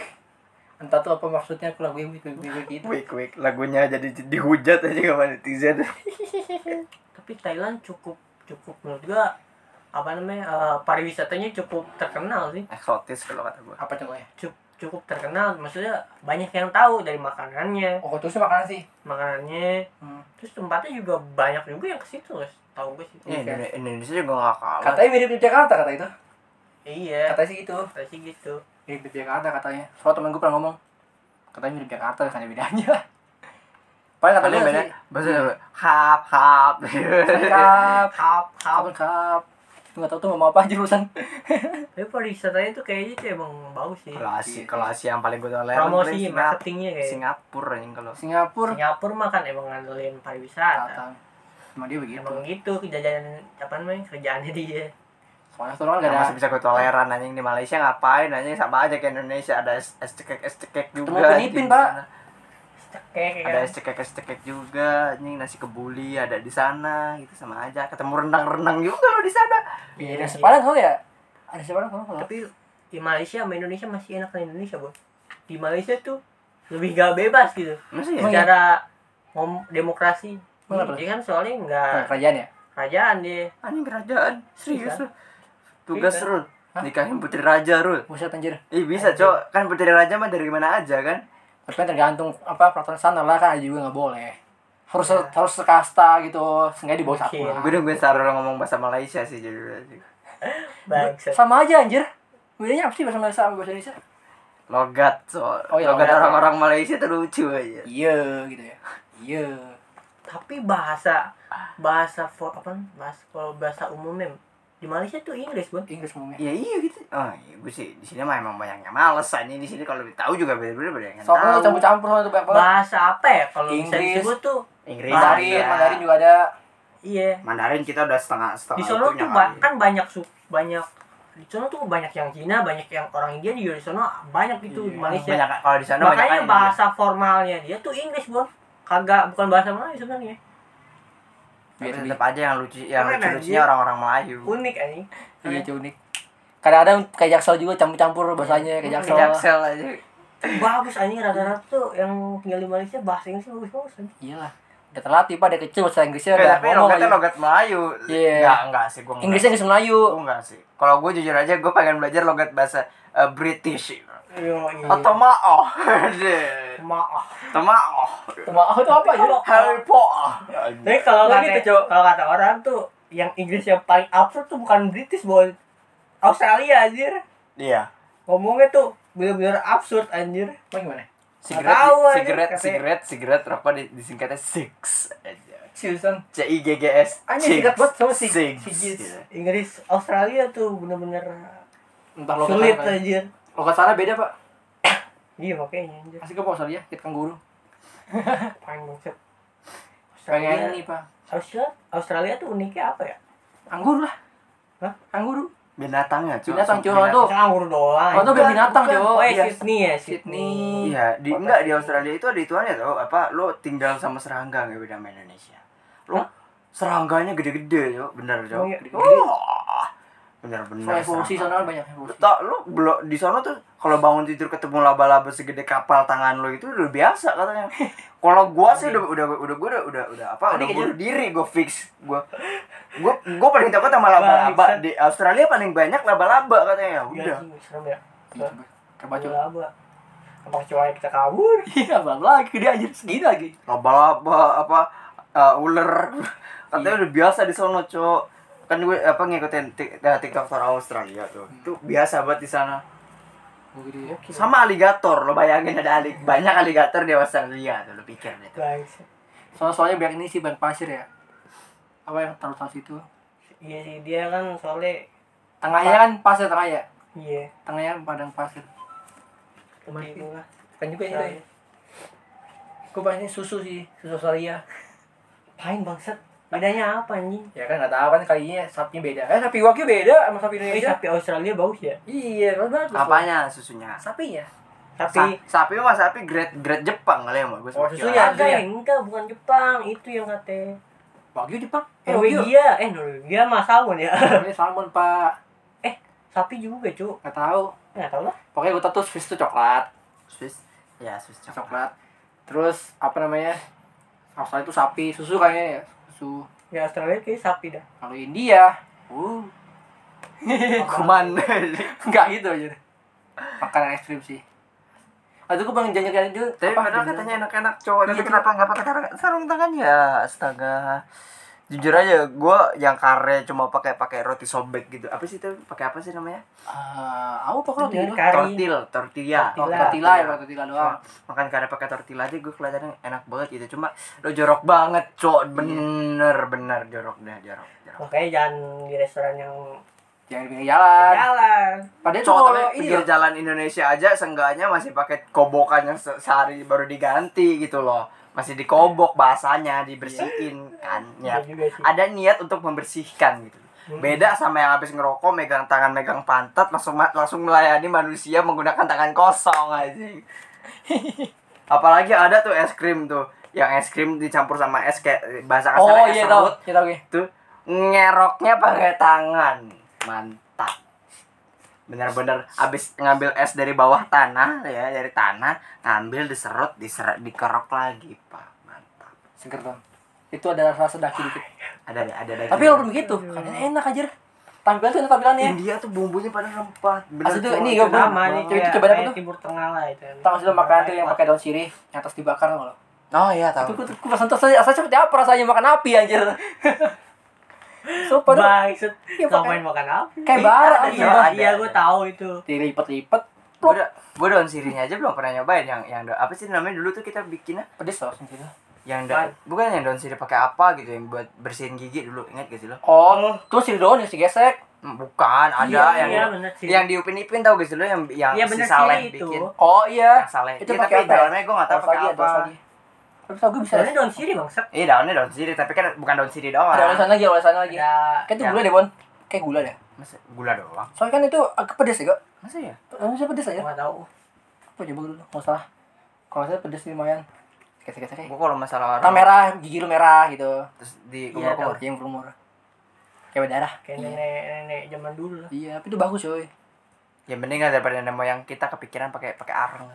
[SPEAKER 4] Entah tuh apa maksudnya aku lagu yang Week Week Week Week itu.
[SPEAKER 2] Wik wik lagunya jadi dihujat aja sama netizen.
[SPEAKER 3] Tapi Thailand cukup cukup menurut gua apa namanya eh, pariwisatanya cukup terkenal sih.
[SPEAKER 2] Eksotis kalau kata gue.
[SPEAKER 4] Apa contohnya?
[SPEAKER 3] Cukup cukup terkenal maksudnya banyak yang tahu dari makanannya
[SPEAKER 4] oh terus makanan sih
[SPEAKER 3] makanannya
[SPEAKER 4] Hmm.
[SPEAKER 3] terus tempatnya juga banyak juga yang ke situ guys tahu gue sih
[SPEAKER 2] Iya, Indone- Indonesia juga gak kalah.
[SPEAKER 4] katanya mirip Jakarta kata itu
[SPEAKER 3] iya
[SPEAKER 4] katanya sih gitu
[SPEAKER 3] katanya sih gitu
[SPEAKER 4] mirip Jakarta katanya soal temen gue pernah ngomong katanya mirip Jakarta kan ada bedanya paling
[SPEAKER 2] Katanya
[SPEAKER 4] katanya
[SPEAKER 2] beda.
[SPEAKER 4] sih Iya.
[SPEAKER 2] Bahasa hap hap.
[SPEAKER 4] lengkap
[SPEAKER 3] hap hap
[SPEAKER 4] lengkap nggak tahu tuh mau apa jurusan
[SPEAKER 3] tapi pariwisatanya tuh kayaknya tuh emang bagus sih
[SPEAKER 2] Kalau Asia, kalau Asia yang paling gue tahu
[SPEAKER 3] promosi
[SPEAKER 2] Singapura,
[SPEAKER 3] marketingnya kayak
[SPEAKER 2] Singapura yang kalau
[SPEAKER 4] Singapura
[SPEAKER 3] Singapura mah kan emang ngandelin pariwisata
[SPEAKER 4] Jakarta cuma dia begitu
[SPEAKER 3] emang gitu jajanan apa namanya kerjaannya dia
[SPEAKER 4] soalnya tuh orang nggak
[SPEAKER 2] Gak
[SPEAKER 4] ada
[SPEAKER 2] masih bisa gue toleran anjing di Malaysia ngapain anjing sama aja kayak Indonesia ada es es cekek es cekek
[SPEAKER 4] Ketemu
[SPEAKER 2] juga.
[SPEAKER 4] Filipin,
[SPEAKER 2] anjing, di
[SPEAKER 4] Pak. Iya.
[SPEAKER 2] sana.
[SPEAKER 3] kayak gitu.
[SPEAKER 2] Ada
[SPEAKER 3] kayak
[SPEAKER 2] es cekek es cekek juga anjing nasi kebuli ada di sana gitu sama aja ketemu renang-renang juga lo di sana.
[SPEAKER 4] Iya, ada sepadan kau ya ada sepadan kau kalau
[SPEAKER 3] gitu. tapi di Malaysia sama Indonesia masih enak dari Indonesia bos di Malaysia tuh lebih gak bebas gitu
[SPEAKER 2] Masih
[SPEAKER 4] Oh,
[SPEAKER 2] ya?
[SPEAKER 4] iya.
[SPEAKER 3] secara ngom demokrasi
[SPEAKER 4] Kenapa?
[SPEAKER 3] dia kan soalnya nggak
[SPEAKER 4] Nah, kerajaan ya
[SPEAKER 3] kerajaan dia
[SPEAKER 2] Anjing kerajaan serius
[SPEAKER 3] Bisa.
[SPEAKER 2] lu. Tugas
[SPEAKER 3] Bisa.
[SPEAKER 2] rul nikahin putri raja rul.
[SPEAKER 4] buset anjir
[SPEAKER 2] Ih bisa cok kan putri raja mah dari mana aja kan?
[SPEAKER 4] tapi kan tergantung apa peraturan sana lah kan ada juga nggak boleh harus harus sekasta gitu sengaja di bawah satu
[SPEAKER 3] Mungkin.
[SPEAKER 4] lah.
[SPEAKER 2] Gue udah gue sarul ngomong bahasa Malaysia sih jadi
[SPEAKER 3] bangsa
[SPEAKER 4] sama aja anjir bedanya apa sih bahasa Malaysia sama bahasa Indonesia
[SPEAKER 2] logat so
[SPEAKER 4] Oh, iya,
[SPEAKER 2] logat
[SPEAKER 4] logat.
[SPEAKER 2] orang-orang Malaysia tuh lucu aja.
[SPEAKER 4] iya gitu ya iya
[SPEAKER 3] tapi bahasa bahasa for apa bahasa kalau bahasa umumnya di Malaysia tuh Inggris bos
[SPEAKER 4] Inggris ngomongnya
[SPEAKER 2] Ya iya gitu. Oh, iya, gue sih di sini mah emang banyaknya males anjing di sini kalau tahu juga beda-beda beda yang
[SPEAKER 4] soalnya
[SPEAKER 2] tahu.
[SPEAKER 4] campur-campur sama tuh banyak banget
[SPEAKER 3] bahasa apa ya kalau bisa
[SPEAKER 4] Inggris.
[SPEAKER 3] disebut tuh
[SPEAKER 2] Inggris,
[SPEAKER 4] Mandarin,
[SPEAKER 2] Mandarin,
[SPEAKER 4] Mandarin juga ada
[SPEAKER 3] iya
[SPEAKER 2] Mandarin kita udah setengah setengah
[SPEAKER 4] Nah,
[SPEAKER 3] di sono
[SPEAKER 2] itunya
[SPEAKER 3] tuh ba-
[SPEAKER 2] kali.
[SPEAKER 3] kan banyak su banyak di sono tuh banyak yang Cina banyak yang orang India juga di sono banyak gitu di
[SPEAKER 4] Iya,
[SPEAKER 3] Malaysia
[SPEAKER 2] Banyak kalau di sana banyak
[SPEAKER 3] makanya bahasa formalnya dia tuh Inggris bos kagak bukan bahasa Melayu sebenarnya
[SPEAKER 4] Biar lebih-
[SPEAKER 2] tetap aja yang lucu yang
[SPEAKER 3] Keren,
[SPEAKER 2] lucu lucunya
[SPEAKER 3] anjing.
[SPEAKER 2] orang-orang Melayu.
[SPEAKER 4] Hmm.
[SPEAKER 3] unik anjing
[SPEAKER 4] iya itu unik kadang-kadang kayak jaksel juga campur-campur bahasanya kayak jaksel
[SPEAKER 2] Jaksel aja.
[SPEAKER 3] bagus anjing rata-rata tuh yang tinggal di Malaysia bahasa Inggris bagus bagus anjing.
[SPEAKER 4] iyalah udah terlatih pak dari kecil bahasa Inggrisnya
[SPEAKER 2] Eh,
[SPEAKER 4] udah
[SPEAKER 2] tapi
[SPEAKER 4] ngomong
[SPEAKER 2] logatnya
[SPEAKER 4] aja
[SPEAKER 2] logat Melayu.
[SPEAKER 4] Iya.
[SPEAKER 2] Enggak, enggak sih gue.
[SPEAKER 4] Inggrisnya Inggris Melayu
[SPEAKER 2] gue enggak sih. Kalau gue jujur aja gue pengen belajar logat bahasa eh, British.
[SPEAKER 3] Iya. Yoi.
[SPEAKER 2] Atau ma'oh.
[SPEAKER 3] maaf
[SPEAKER 2] Atau ma'oh.
[SPEAKER 4] Maaf "Oh, itu apa aja
[SPEAKER 3] Kalau-
[SPEAKER 2] Harry Potter.
[SPEAKER 3] Tapi kalau
[SPEAKER 4] Nggak
[SPEAKER 3] kata
[SPEAKER 4] gitu, Cok.
[SPEAKER 3] kalau kata orang tuh yang Inggris yang paling absurd tuh bukan British boy. Australia anjir.
[SPEAKER 2] Iya.
[SPEAKER 3] Ngomongnya tuh bener-bener absurd anjir.
[SPEAKER 4] Emang gimana
[SPEAKER 2] Sigaret,
[SPEAKER 3] Nggak tahu, anjing,
[SPEAKER 2] sigaret,
[SPEAKER 3] katanya.
[SPEAKER 2] sigaret, sigaret, rokok di- disingkatnya six.
[SPEAKER 4] seriusan
[SPEAKER 2] C I G G S.
[SPEAKER 4] Anjing, singkat banget sama six.
[SPEAKER 2] Six.
[SPEAKER 4] Sigit.
[SPEAKER 2] Iya.
[SPEAKER 3] Inggris Australia tuh bener-bener
[SPEAKER 4] entah logat
[SPEAKER 3] sulit
[SPEAKER 4] sana-
[SPEAKER 3] anjir.
[SPEAKER 4] logat sana beda pak
[SPEAKER 3] Iya makanya anjir.
[SPEAKER 4] Kasih ke Pak Australia, kita kan kangguru.
[SPEAKER 3] Paling bangsat.
[SPEAKER 4] Pengen
[SPEAKER 3] Ah, Australia,
[SPEAKER 4] ini, Pak.
[SPEAKER 3] Australia, Australia tuh uniknya apa ya?
[SPEAKER 4] Anggur lah.
[SPEAKER 3] Hah?
[SPEAKER 4] Angguru.
[SPEAKER 2] Binatangnya cuy.
[SPEAKER 4] Binatang, cuy, orang tuh.
[SPEAKER 3] Masa anggur
[SPEAKER 4] Oh,
[SPEAKER 3] doang.
[SPEAKER 4] itu
[SPEAKER 3] anjir.
[SPEAKER 4] band binatang,
[SPEAKER 2] bukan.
[SPEAKER 4] Jo.
[SPEAKER 3] Oh, ya
[SPEAKER 4] Iya.
[SPEAKER 3] Sydney ya, Sydney.
[SPEAKER 4] Sydney.
[SPEAKER 2] Iya, di enggak di Australia itu ada ituannya tau apa lo tinggal sama serangga nggak beda sama Indonesia. Lo
[SPEAKER 3] Hah?
[SPEAKER 2] serangganya gede-gede yo, bener
[SPEAKER 3] Oh,
[SPEAKER 2] yo.
[SPEAKER 3] iya,
[SPEAKER 2] Gede-gede.
[SPEAKER 3] gede-gede.
[SPEAKER 2] Wah, Bener-bener.
[SPEAKER 4] Soalnya evolusi
[SPEAKER 2] serangga.
[SPEAKER 4] sana kan banyak evolusi.
[SPEAKER 2] Tak lo belok di sana tuh kalau bangun tidur ketemu laba-laba segede kapal tangan lo itu udah biasa katanya. Kalau gua sih udah udah udah gua udah udah, udah apa udah
[SPEAKER 4] Panik
[SPEAKER 2] bunuh diri gua fix gua gua gua paling takut sama laba-laba
[SPEAKER 3] Bangsat.
[SPEAKER 2] di Australia paling banyak laba-laba katanya ya
[SPEAKER 3] Iya,
[SPEAKER 2] udah
[SPEAKER 3] anjing, serem ya.
[SPEAKER 4] Iya, coba. Coba coba.
[SPEAKER 3] Laba. Apa kecoa kita kabur?
[SPEAKER 4] Iya, belum lagi dia anjir segini lagi.
[SPEAKER 2] laba-laba apa eh, ular katanya udah biasa di sono cok kan gue apa ngikutin tik- eh, TikTok orang Australia tuh itu biasa banget di sana
[SPEAKER 4] Oh, gitu ya.
[SPEAKER 2] sama aligator lo bayangin ada alik banyak aligator di Australia tuh lo pikir deh tuh.
[SPEAKER 3] Bangsat.
[SPEAKER 4] Soalnya soalnya banyak ini sih banyak pasir ya. Apa yang taruh taruh situ?
[SPEAKER 3] Iya sih dia kan soalnya
[SPEAKER 4] Tengahnya kan pasir tengah ya.
[SPEAKER 3] iya
[SPEAKER 4] Tengahnya kan padang pasir. Kemarin.
[SPEAKER 3] seperti itulah.
[SPEAKER 4] Kan juga
[SPEAKER 3] Nah,
[SPEAKER 4] Gue pasti susu sih, susu Australia.
[SPEAKER 3] Pahin bangsat. Bedanya apa anjing?
[SPEAKER 4] Ya kan nggak tahu kan kalinya sapinya beda. Eh sapi wakil beda sama sapi
[SPEAKER 3] Eh, sapi Australia bagus ya.
[SPEAKER 4] Iya, bagus.
[SPEAKER 2] apanya susunya
[SPEAKER 4] Sapinya.
[SPEAKER 3] Tapi
[SPEAKER 2] Sa- sapi mah sapi grade grade Jepang kali ya Mbak. gue
[SPEAKER 4] Oh,
[SPEAKER 2] sama
[SPEAKER 4] susunya.
[SPEAKER 2] kira.
[SPEAKER 3] agak ya enggak bukan Jepang itu yang kata
[SPEAKER 4] Wagyu Jepang. Eh, Wagyu.
[SPEAKER 3] Norwegia eh Norwegia mah salmon ya
[SPEAKER 4] Ini salmon, Pak.
[SPEAKER 3] sapi juga cu
[SPEAKER 4] Nggak tahu.
[SPEAKER 3] nggak tahu lah
[SPEAKER 4] Pokoknya gue tau tuh Swiss tuh coklat.
[SPEAKER 2] Swiss ya Swiss coklat
[SPEAKER 4] coklat terus apa namanya Australia itu sapi susu kayaknya ya susu
[SPEAKER 3] ya Australia kayak sapi dah
[SPEAKER 4] kalau India uh
[SPEAKER 2] kuman
[SPEAKER 4] nggak gitu aja makanan ekstrim sih Aduh, gue pengen janjikan itu.
[SPEAKER 2] Tapi
[SPEAKER 4] apa,
[SPEAKER 2] padahal
[SPEAKER 4] gimana?
[SPEAKER 2] katanya enak-enak cowok
[SPEAKER 4] Iya,
[SPEAKER 2] Tapi kenapa nggak pakai tar- sarung tangan ya Astaga Jujur aja gue yang kare cuma pakai pakai roti sobek gitu Apa sih itu pakai apa sih namanya?
[SPEAKER 4] Ah, aku pokoknya roti
[SPEAKER 3] Dengan
[SPEAKER 4] dulu.
[SPEAKER 3] kari.
[SPEAKER 2] Tortil, tortilla Oh,
[SPEAKER 4] Oh,
[SPEAKER 3] Tortilla.
[SPEAKER 4] tortilla ya, tortilla doang.
[SPEAKER 2] Makan kare pakai tortilla aja gue kelihatannya enak banget gitu Cuma lo jorok banget cowok Bener bener jorok deh jorok, jorok.
[SPEAKER 3] Makanya jangan di restoran yang
[SPEAKER 4] Jangan di pinggir jalan. iya.
[SPEAKER 3] jalan.
[SPEAKER 4] Padahal tuh
[SPEAKER 2] Cowok
[SPEAKER 4] kalau
[SPEAKER 2] tapi
[SPEAKER 4] ini
[SPEAKER 2] pinggir
[SPEAKER 3] iya.
[SPEAKER 4] loh,
[SPEAKER 2] jalan Indonesia aja Seenggaknya masih pakai kobokan yang se- sehari baru diganti gitu loh Masih dikobok bahasanya dibersihin kan
[SPEAKER 3] Iya
[SPEAKER 2] ya
[SPEAKER 3] juga sih. Hmm.
[SPEAKER 2] ada niat untuk membersihkan gitu. Beda sama yang habis ngerokok megang tangan megang pantat langsung ma- langsung melayani manusia menggunakan tangan kosong aja. Apalagi ada tuh es krim tuh yang es krim dicampur sama es kayak bahasa kasarnya ya
[SPEAKER 4] Oh
[SPEAKER 2] es
[SPEAKER 4] iya tau,
[SPEAKER 2] serut
[SPEAKER 4] iya tau gue.
[SPEAKER 2] tuh ngeroknya pakai tangan. Mantap. Bener-bener abis ngambil es dari bawah tanah ya dari tanah ngambil diserut diserut dikerok lagi pak mantap
[SPEAKER 4] Seger tuh. Itu ada rasa daki dikit.
[SPEAKER 2] Iya, ada ada ada
[SPEAKER 4] Tapi walaupun begitu, karena enak aja. Tampilan tuh enak tampilannya.
[SPEAKER 2] India tuh bumbunya pada rempah.
[SPEAKER 4] ya. Asli tuh,
[SPEAKER 2] cowok.
[SPEAKER 4] ini
[SPEAKER 2] Itu
[SPEAKER 4] gua belum-
[SPEAKER 2] lama
[SPEAKER 3] Sama nih
[SPEAKER 4] Itu
[SPEAKER 3] kayak,
[SPEAKER 4] coba apa
[SPEAKER 3] kayak
[SPEAKER 4] tuh?
[SPEAKER 3] Timur Tengah lah itu.
[SPEAKER 4] Tahu sih lo makan tuh yang pakai daun sirih, yang atas dibakar tau nggak lo.
[SPEAKER 2] Oh iya
[SPEAKER 4] Itu
[SPEAKER 2] tahu.
[SPEAKER 4] gue gue rasa tuh rasanya seperti apa rasanya makan api anjir. Sumpah tuh
[SPEAKER 3] Bang, set,
[SPEAKER 4] Iya, pakai-
[SPEAKER 3] ngapain makan apa?
[SPEAKER 4] kayak bara
[SPEAKER 2] Iya,
[SPEAKER 4] anjir.
[SPEAKER 3] Iya,
[SPEAKER 2] ada,
[SPEAKER 3] iya
[SPEAKER 2] ada.
[SPEAKER 3] gue tahu itu.
[SPEAKER 4] Dilipet-lipet,
[SPEAKER 2] Gue gue daun sirihnya aja belum pernah nyobain yang yang da- apa sih namanya dulu tuh kita bikinnya
[SPEAKER 4] pedes gitu. loh sendiri.
[SPEAKER 2] yang da- bukan yang daun sirih pakai apa gitu yang buat bersihin gigi dulu ingat gak sih lo?
[SPEAKER 4] Oh, terus sirih daun yang digesek.
[SPEAKER 2] Hmm, Bukan ada
[SPEAKER 3] Iya,
[SPEAKER 2] yang
[SPEAKER 3] iya, bener sih.
[SPEAKER 2] yang diupin-ipin tau gak sih lo yang yang
[SPEAKER 3] Iya,
[SPEAKER 2] si
[SPEAKER 3] bener
[SPEAKER 2] Saleh
[SPEAKER 3] sirih itu.
[SPEAKER 2] bikin.
[SPEAKER 4] Oh iya.
[SPEAKER 2] Yang Saleh.
[SPEAKER 4] Itu
[SPEAKER 2] Iya,
[SPEAKER 4] pakai
[SPEAKER 2] tapi
[SPEAKER 4] apa ya?
[SPEAKER 2] daunnya gue gak tau
[SPEAKER 4] Daun
[SPEAKER 2] pakai
[SPEAKER 4] lagi,
[SPEAKER 2] apa.
[SPEAKER 4] daun lagi. Tapi tau gue bisa. ya?
[SPEAKER 3] Soalnya daun sirih bang, set.
[SPEAKER 2] Iya daunnya daun sirih tapi kan bukan daun sirih doang.
[SPEAKER 4] Ada olesan lagi, olesan lagi.
[SPEAKER 3] Ada
[SPEAKER 4] Kayak itu
[SPEAKER 2] Ya.
[SPEAKER 4] gula deh, Bon. Kayak gula deh.
[SPEAKER 2] Masa gula doang.
[SPEAKER 4] Soalnya kan itu agak pedes ya, Kak.
[SPEAKER 2] Masa ya?
[SPEAKER 4] Harusnya pedes aja.
[SPEAKER 3] nggak tahu.
[SPEAKER 4] Apa coba dulu, nggak salah. Kalau saya pedes sih lumayan. Sekit-sekit aja.
[SPEAKER 2] Gue kalau masalah
[SPEAKER 4] Warna merah, gigi lu merah gitu.
[SPEAKER 2] terus di
[SPEAKER 3] Iya,
[SPEAKER 2] kumur-kumur.
[SPEAKER 4] Yang berumur. Kayak berdarah.
[SPEAKER 3] Kayak
[SPEAKER 2] Iya.
[SPEAKER 3] nenek-nenek zaman dulu lah.
[SPEAKER 4] Iya, tapi itu bagus coy.
[SPEAKER 2] Ya mendingan daripada nemu yang kita kepikiran pakai pakai arang.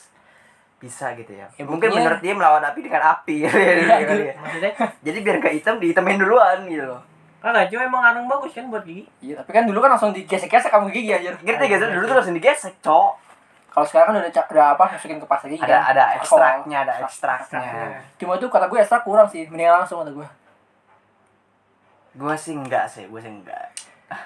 [SPEAKER 2] Bisa gitu ya.
[SPEAKER 4] Ya,
[SPEAKER 2] mungkin
[SPEAKER 4] buktinya-
[SPEAKER 2] menurut dia melawan api dengan api. Iya,
[SPEAKER 3] Gitu, Maksudnya,
[SPEAKER 2] Jadi biar gak hitam dihitamin duluan gitu loh.
[SPEAKER 3] kagak cuma emang arang bagus kan buat gigi.
[SPEAKER 4] Iya, tapi kan dulu kan langsung digesek-gesek sama gigi aja.
[SPEAKER 2] Ngerti gak sih dulu tuh langsung digesek, Cok.
[SPEAKER 4] Kalau sekarang kan udah, ca- udah apa masukin ke pasta gigi
[SPEAKER 2] Ada
[SPEAKER 4] kan.
[SPEAKER 2] ada
[SPEAKER 4] Alkohol.
[SPEAKER 2] ekstraknya, ada ekstraknya.
[SPEAKER 4] Iya.
[SPEAKER 3] Ekstraknya.
[SPEAKER 4] Cuma itu kata gue ekstra kurang sih, mendingan langsung kata gue.
[SPEAKER 2] Gua sih enggak sih, gua sih enggak.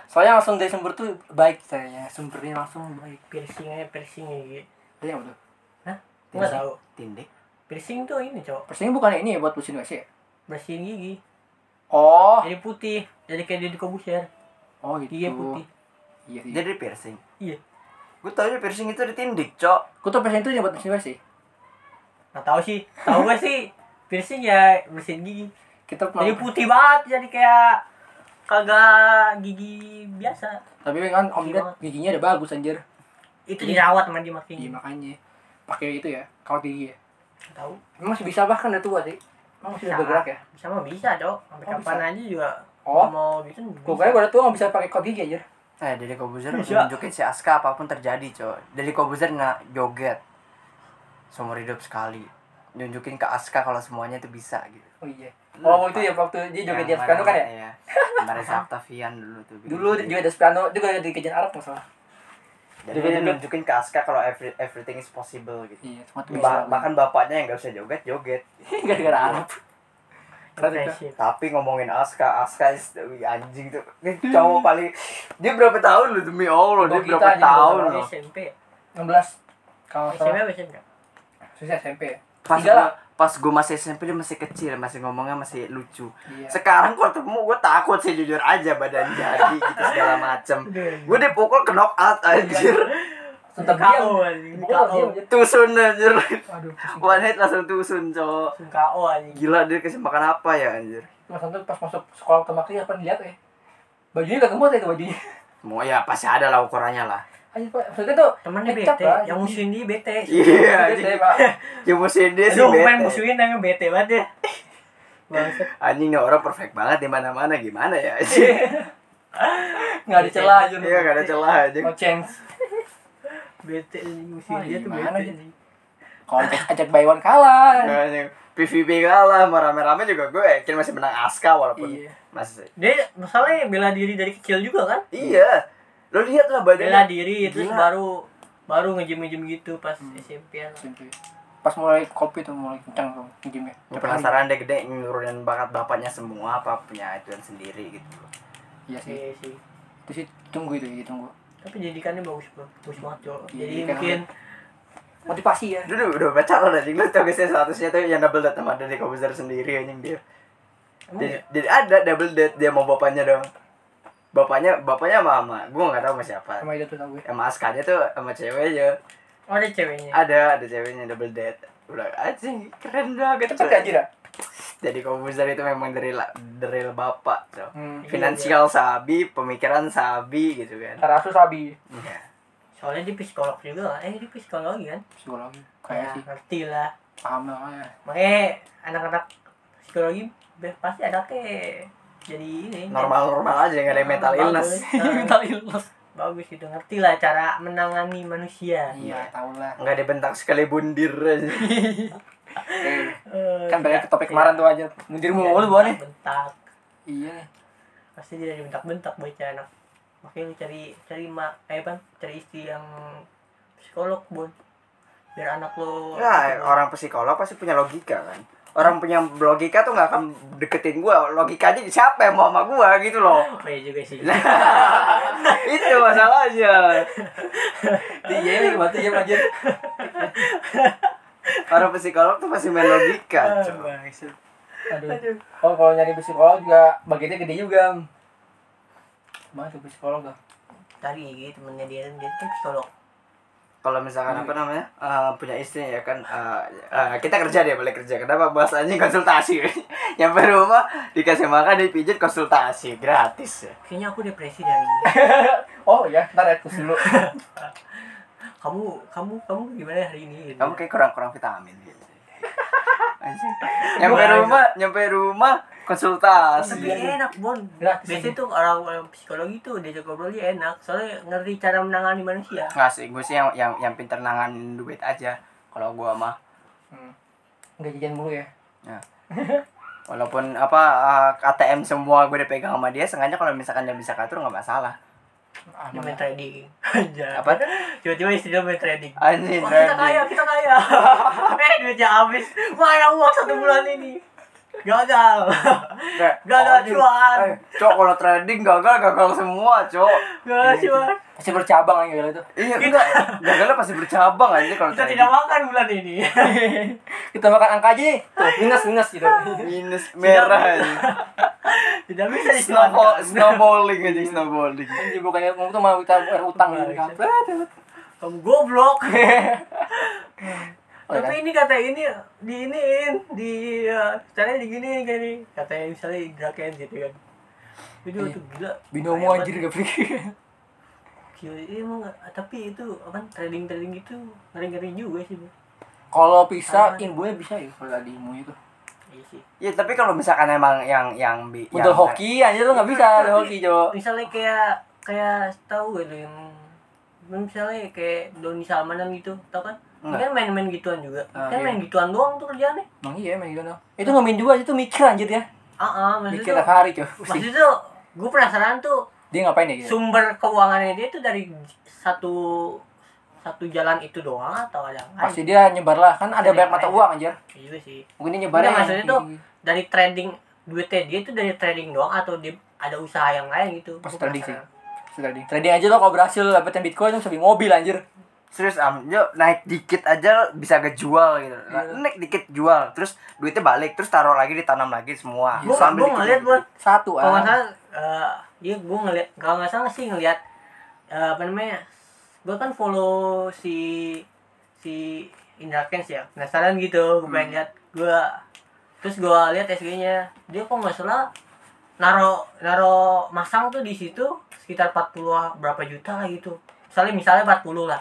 [SPEAKER 4] Soalnya langsung dari sumber tuh baik kayaknya, sumbernya langsung baik.
[SPEAKER 3] Piercingnya piercingnya
[SPEAKER 2] Iya
[SPEAKER 3] gitu.
[SPEAKER 4] Jadi apa tuh?
[SPEAKER 3] Nggak
[SPEAKER 2] Piercing.
[SPEAKER 3] tahu.
[SPEAKER 2] Tindik.
[SPEAKER 3] Piercing tuh ini cowok
[SPEAKER 4] Persingnya bukan ini ya buat bersihin WC ya?
[SPEAKER 3] bersihin gigi.
[SPEAKER 4] Oh,
[SPEAKER 3] Jadi putih. Jadi kayak Deddy Corbuzier.
[SPEAKER 4] oh gitu.
[SPEAKER 3] Gigi putih.
[SPEAKER 4] Iya sih.
[SPEAKER 2] Jadi piercing.
[SPEAKER 3] Iya.
[SPEAKER 2] Gua tau dia piercing itu ditindik, Cok.
[SPEAKER 4] Gue tuh persing itu yang buat bersihin WC.
[SPEAKER 3] Nggak tahu sih. Tahu gue sih piercing ya bersihin gigi.
[SPEAKER 4] Kita
[SPEAKER 3] Jadi
[SPEAKER 4] pernah-
[SPEAKER 3] putih banget jadi kayak kagak gigi biasa.
[SPEAKER 4] tapi kan Om Ded giginya udah bagus anjir.
[SPEAKER 3] Itu dirawat sama
[SPEAKER 4] Iya
[SPEAKER 3] dia makin.
[SPEAKER 4] makanya pakai itu ya, kawat gigi ya.
[SPEAKER 3] Nggak tahu.
[SPEAKER 4] Emang masih bisa bahkan udah tua sih. Emang masih
[SPEAKER 3] Bisa.
[SPEAKER 4] bergerak ya.
[SPEAKER 3] Bisa mah bisa, Cok. Sampai
[SPEAKER 4] Oh,
[SPEAKER 3] kapan aja juga
[SPEAKER 4] Oh.
[SPEAKER 3] mau gitu.
[SPEAKER 4] Gue kira gue udah tua nggak bisa pakai kawat gigi anjir.
[SPEAKER 2] Eh, Deddy Kobuzer
[SPEAKER 4] Iya.
[SPEAKER 3] Bisa.
[SPEAKER 2] nunjukin si Aska apapun terjadi, coy. Deddy Kobuzer nggak joget seumur hidup sekali. Nunjukin ke Aska kalau semuanya itu bisa gitu.
[SPEAKER 4] Oh iya. Oh itu ya waktu dia joget di atas piano kan ya?
[SPEAKER 2] Iya. Sama Reza Octavian dulu tuh. gitu.
[SPEAKER 4] Dulu dia joget di atas piano, dia juga di kejadian Arab nggak salah.
[SPEAKER 2] Jadi dia nunjukin ke Aska kalau every- everything is possible gitu.
[SPEAKER 4] Iya, cuma tuh
[SPEAKER 2] Ba- bahkan bapaknya yang nggak bisa joget joget. Iya.
[SPEAKER 4] gara-gara Arab.
[SPEAKER 3] Impresif.
[SPEAKER 2] Kan Tapi ngomongin Aska, Aska is wih, anjing tuh. Ini
[SPEAKER 4] Hmm.
[SPEAKER 2] cowok paling dia berapa tahun lu demi Allah, dia
[SPEAKER 4] Bogita
[SPEAKER 2] berapa
[SPEAKER 4] aja,
[SPEAKER 2] tahun
[SPEAKER 4] Bogita.
[SPEAKER 2] lu.
[SPEAKER 3] SMP.
[SPEAKER 4] 16 kalau nggak
[SPEAKER 3] SMP
[SPEAKER 4] salah.
[SPEAKER 3] apa SMP?
[SPEAKER 4] Susah SMP ya?
[SPEAKER 2] Pas
[SPEAKER 4] Tiga lah.
[SPEAKER 2] gua, pas gua masih SMP dia masih kecil, masih ngomongnya masih lucu.
[SPEAKER 4] Iya.
[SPEAKER 2] Sekarang kalau ketemu gue takut sih jujur aja badan jadi gitu segala macem. Gue dipukul ke knockout anjir.
[SPEAKER 4] Tetap
[SPEAKER 3] KO,
[SPEAKER 4] diam.
[SPEAKER 3] anjing.
[SPEAKER 4] Pokoknya
[SPEAKER 3] KO.
[SPEAKER 4] diam, anjir.
[SPEAKER 2] Tusun anjir.
[SPEAKER 4] Aduh, pusing.
[SPEAKER 2] One hit langsung tusun cowok.
[SPEAKER 3] Langsung KO anjing.
[SPEAKER 2] Gila dia kasih makan apa ya anjir.
[SPEAKER 4] Mas Anto pas masuk sekolah pertama kali apa dilihat ya? Bajunya gak kemot ya itu bajunya.
[SPEAKER 2] Mau ya pasti ada lah ukurannya lah.
[SPEAKER 4] Anjir Pak, maksudnya tuh
[SPEAKER 3] Temannya
[SPEAKER 4] kecap
[SPEAKER 3] bete,
[SPEAKER 4] lah.
[SPEAKER 3] yang musuhin dia bete.
[SPEAKER 4] Eh, Iya,
[SPEAKER 2] Iya.
[SPEAKER 4] bete,
[SPEAKER 2] anjing.
[SPEAKER 4] Pak.
[SPEAKER 2] Ya musuhin dia sih
[SPEAKER 3] Aduh, main
[SPEAKER 2] bete.
[SPEAKER 3] musuhin tapi bete banget ya. Bangsat.
[SPEAKER 2] Anjing nih orang perfect banget di mana-mana gimana ya anjir.
[SPEAKER 4] Enggak ada celah anjir.
[SPEAKER 2] Iya gak ada celah anjing.
[SPEAKER 4] No chance.
[SPEAKER 3] Bete anjing musuhin
[SPEAKER 4] Ah,
[SPEAKER 3] dia tuh
[SPEAKER 4] gimana
[SPEAKER 3] bete.
[SPEAKER 4] dia?
[SPEAKER 3] anjing.
[SPEAKER 4] Kalau ajak- ajak by one kalah.
[SPEAKER 2] Anjing, PVP kalah, mau rame-rame juga gue yakin masih menang Aska walaupun
[SPEAKER 4] Iya.
[SPEAKER 2] masih
[SPEAKER 3] Dia masalahnya bela diri dari kecil juga kan?
[SPEAKER 2] Iya. Lo lihat lah badannya.
[SPEAKER 3] Bela diri terus
[SPEAKER 2] Gila.
[SPEAKER 3] baru baru ngejem-ngejem gitu pas
[SPEAKER 4] Hmm.
[SPEAKER 3] SMP -an.
[SPEAKER 4] pas mulai kopi tuh mulai kencang tuh nge-gym ya
[SPEAKER 2] Gue penasaran deh gede nurunin bakat bapaknya semua apa punya itu sendiri gitu.
[SPEAKER 4] iya sih
[SPEAKER 3] Iya sih.
[SPEAKER 4] itu sih tunggu itu ya tunggu
[SPEAKER 3] Tapi jadikannya bagus bro, bagus banget Jo.
[SPEAKER 4] Iya,
[SPEAKER 3] Jadi
[SPEAKER 4] kan.
[SPEAKER 3] mungkin
[SPEAKER 4] motivasi ya
[SPEAKER 2] Dulu udah baca lo anjing lu tau gak sih statusnya tuh yang double date sama Deddy Kobuzer sendiri anjing dia.
[SPEAKER 3] emang
[SPEAKER 2] Jadi,
[SPEAKER 3] ya?
[SPEAKER 2] jadi ada double date dia mau bapaknya dong. Bapaknya bapaknya sama mama, gue gak tau sama siapa.
[SPEAKER 4] sama itu tuh tau gue
[SPEAKER 2] Sama Askanya tuh sama ceweknya.
[SPEAKER 3] Oh, ada ceweknya.
[SPEAKER 2] Ada ada ceweknya double date. Udah anjing keren banget
[SPEAKER 4] itu ya, gaji dah
[SPEAKER 2] Jadi Kobuzer itu memang dari la- dari bapak tuh.
[SPEAKER 4] hmm.
[SPEAKER 2] Finansial sabi, pemikiran sabi gitu kan.
[SPEAKER 4] Tarasu Sabi
[SPEAKER 2] Iya.
[SPEAKER 3] Soalnya dia psikolog juga. Eh, dia psikologi kan?
[SPEAKER 4] psikologi
[SPEAKER 3] Ya,
[SPEAKER 4] kayak sih
[SPEAKER 3] ngerti lah.
[SPEAKER 4] paham lah ya
[SPEAKER 3] Makanya anak-anak psikologi be- pasti anaknya jadi ini. kan?
[SPEAKER 2] Normal-normal aja gak ada yang mental
[SPEAKER 3] Iya,
[SPEAKER 2] illness.
[SPEAKER 3] Bagus, eh,
[SPEAKER 4] mental illness
[SPEAKER 3] bagus gitu. Ngerti lah cara menangani manusia.
[SPEAKER 4] iya tau lah
[SPEAKER 2] Nggak dibentak sekali bundir aja.
[SPEAKER 4] Eh,
[SPEAKER 3] Eh,
[SPEAKER 4] kan balik
[SPEAKER 3] tidak-
[SPEAKER 4] ke topik kemarin
[SPEAKER 3] tidak-
[SPEAKER 4] tuh aja mundur
[SPEAKER 3] tidak
[SPEAKER 4] mulu gua nih
[SPEAKER 3] Bentak.
[SPEAKER 4] iya nih
[SPEAKER 3] pasti dia dibentak-bentak bocah anak makanya lu cari cari mak eh bang cari istri yang psikolog bon biar anak
[SPEAKER 4] Ya,
[SPEAKER 3] lo
[SPEAKER 2] Nah, orang psikolog pasti punya logika kan. Orang punya logika tuh nggak akan deketin gua. Logikanya siapa yang mau sama gua gitu loh.
[SPEAKER 3] oh iya juga sih
[SPEAKER 2] Itu masalahnya.
[SPEAKER 4] iya ini batu ya aja
[SPEAKER 2] Orang psikolog tuh pasti main logika. cuy.
[SPEAKER 4] aduh oh kalau nyari psikolog juga bagetnya gede juga Mana tuh psikolog dah
[SPEAKER 3] tadi gitu temennya dia dia kan psikolog
[SPEAKER 2] Kalau misalkan
[SPEAKER 3] Hmm.
[SPEAKER 2] apa namanya eh, punya istri ya kan eh, eh, kita kerja dia boleh kerja. Kenapa bahasanya
[SPEAKER 3] Iya.
[SPEAKER 2] konsultasi? Nyampe rumah dikasih makan dipijit konsultasi gratis. ya.
[SPEAKER 3] kayaknya aku depresi dari ini
[SPEAKER 4] oh ya ntar ya terus dulu
[SPEAKER 3] kamu kamu kamu gimana hari ini gitu.
[SPEAKER 2] Kamu kayak kurang-kurang vitamin gitu. Anjing. Nyampe rumah, nyampe rumah konsultasi.
[SPEAKER 3] tapi enak bon
[SPEAKER 4] Gratis
[SPEAKER 3] biasanya tuh orang, orang psikologi tuh dia ngobrolnya enak soalnya ngerti cara menangani manusia
[SPEAKER 2] Nggak sih, gue sih yang yang yang pinter nanganin duit aja. Kalau gue mah,
[SPEAKER 4] Hmm. nggak jajan mulu ya
[SPEAKER 2] walaupun apa eh, ATM semua gue dipegang sama dia, sengaja kalau misalkan dia bisa katur nggak masalah.
[SPEAKER 4] ah,
[SPEAKER 3] dia
[SPEAKER 4] mana?
[SPEAKER 3] main trading aja
[SPEAKER 2] Apa?
[SPEAKER 3] tiba-tiba istri dia main trading
[SPEAKER 2] Anjing.
[SPEAKER 3] Wah, Oh, kita kaya,
[SPEAKER 2] trading.
[SPEAKER 3] kita kaya. eh, duitnya habis. Mana uang satu bulan ini? Gagal.
[SPEAKER 2] Kayak,
[SPEAKER 3] Gagal
[SPEAKER 2] anjing.
[SPEAKER 3] cuan.
[SPEAKER 2] Eh, Cok, kalau trading gagal gagal semua, Cok.
[SPEAKER 3] Gagal cuan.
[SPEAKER 4] pasti bercabang ya itu
[SPEAKER 2] Iya, enggak. Gagalnya pasti bercabang aja kalau
[SPEAKER 3] Kita tidak
[SPEAKER 2] trading.
[SPEAKER 3] makan bulan ini.
[SPEAKER 4] kita makan angka aja nih. tuh minus minus gitu
[SPEAKER 2] Minus merah aja.
[SPEAKER 3] tidak bisa
[SPEAKER 2] Snowball,
[SPEAKER 3] dicuankan.
[SPEAKER 2] snowballing aja, snowballing.
[SPEAKER 4] Jadi bukannya kamu ya, tuh mau kita bayar utang gitu kan.
[SPEAKER 3] Kamu goblok.
[SPEAKER 4] Iya. Oh,
[SPEAKER 3] Tapi ini kata ini diiniin di eh, caranya diginiin kayak ini. Katanya misalnya didrakain gitu kan. Itu
[SPEAKER 4] Iya.
[SPEAKER 3] tuh gila.
[SPEAKER 4] Binomo
[SPEAKER 3] Kaya
[SPEAKER 4] anjir
[SPEAKER 3] banget.
[SPEAKER 4] gak pikir.
[SPEAKER 3] Gila, iya, emang tapi itu apa trading-trading itu ngeri-ngeri juga sih. Bu.
[SPEAKER 4] Kalau bisa inbunya bisa ya kalau tadi ilmu itu.
[SPEAKER 3] Iya sih.
[SPEAKER 2] Ya, tapi kalau misalkan emang yang yang bi- yang-
[SPEAKER 4] Untuk hoki anjir lu Ya, enggak bisa
[SPEAKER 3] Iya,
[SPEAKER 4] ada
[SPEAKER 3] tapi-
[SPEAKER 4] hoki, Jo.
[SPEAKER 3] misalnya kayak kayak tahu gitu yang misalnya kayak Doni Salmanan gitu tau kan dia kan main-main gituan juga
[SPEAKER 4] Ah,
[SPEAKER 3] kan
[SPEAKER 4] iya.
[SPEAKER 3] main gituan doang tuh kerjaannya
[SPEAKER 4] Emang iya emang gitu. no. Itu ngamen juga itu mikir anjir ya.
[SPEAKER 3] ah ah
[SPEAKER 4] Mikir tiap
[SPEAKER 3] maksudnya tuh,
[SPEAKER 4] hari, Jo. Pasti.
[SPEAKER 3] maksudnya tuh gue penasaran tuh
[SPEAKER 4] Dia ngapain ya gitu?
[SPEAKER 3] sumber keuangannya dia tuh dari satu satu jalan itu doang atau ada yang lain
[SPEAKER 4] Pasti dia nyebar lah kan ada banyak
[SPEAKER 3] Ada yang
[SPEAKER 4] mata
[SPEAKER 3] lain.
[SPEAKER 4] uang anjir.
[SPEAKER 3] Iya sih
[SPEAKER 4] Mungkin dia nyebarnya
[SPEAKER 3] Enggak, maksudnya
[SPEAKER 4] yang
[SPEAKER 3] tuh,
[SPEAKER 4] gini-gini.
[SPEAKER 3] dari trading duitnya dia tuh dari trading doang atau dia ada usaha yang lain gitu
[SPEAKER 4] Pasti
[SPEAKER 3] Gua
[SPEAKER 4] trading sih.
[SPEAKER 3] penasaran.
[SPEAKER 4] Pasti Trading. Trading aja lo kalau berhasil dapetin Bitcoin itu bisa beli mobil anjir.
[SPEAKER 2] Serius am, Jo, naik dikit aja bisa kejual gitu.
[SPEAKER 4] Iya.
[SPEAKER 2] Naik dikit jual, terus duitnya balik, terus taruh lagi ditanam lagi semua.
[SPEAKER 3] Gua-
[SPEAKER 2] Sambil
[SPEAKER 3] gua
[SPEAKER 2] dikit-
[SPEAKER 3] ngeliat buat
[SPEAKER 4] Satu
[SPEAKER 3] kalau
[SPEAKER 4] ah.
[SPEAKER 3] nggak salah eh, iya gue ngeliat kalau nggak salah sih ngeliat eh, apa namanya gue kan follow si si Indra Kens ya penasaran gitu gue
[SPEAKER 2] Hmm.
[SPEAKER 3] pengen lihat gue terus gue lihat SG nya dia kok nggak salah naro naro masang tuh di situ sekitar 40 berapa juta lah gitu misalnya misalnya 40 lah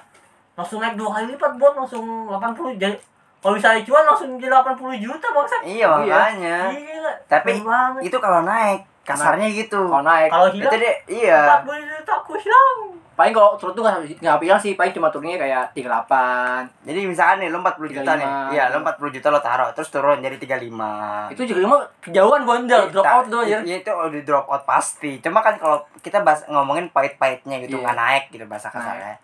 [SPEAKER 3] langsung naik dua kali lipat buat langsung 80 jadi kalau misalnya cuan langsung jadi 80 juta bangsa
[SPEAKER 2] Iya makanya.
[SPEAKER 3] gila
[SPEAKER 2] Tapi
[SPEAKER 3] keren banget.
[SPEAKER 2] Itu kalau naik, kasarnya gitu.
[SPEAKER 4] Kalau naik
[SPEAKER 3] kalau hilang
[SPEAKER 2] Itu dia, iya.
[SPEAKER 3] Empat puluh juta aku hilang.
[SPEAKER 4] paling kalau turun tuh nggak nggak hilang sih paling cuma turunnya kayak 38
[SPEAKER 2] Jadi misalkan nih lo 40 juta nih.
[SPEAKER 4] 35.
[SPEAKER 2] Iya, lo 40 juta lo taruh, terus turun jadi 35.
[SPEAKER 4] itu juga mah kejauhan gondel drop out tuh anjir
[SPEAKER 2] Iya itu udah drop out pasti. Cuma kan kalau kita bahas ngomongin pahit-pahitnya gitu
[SPEAKER 4] Iya.
[SPEAKER 2] nggak naik gitu bahasa
[SPEAKER 4] Naik.
[SPEAKER 2] kasarnya.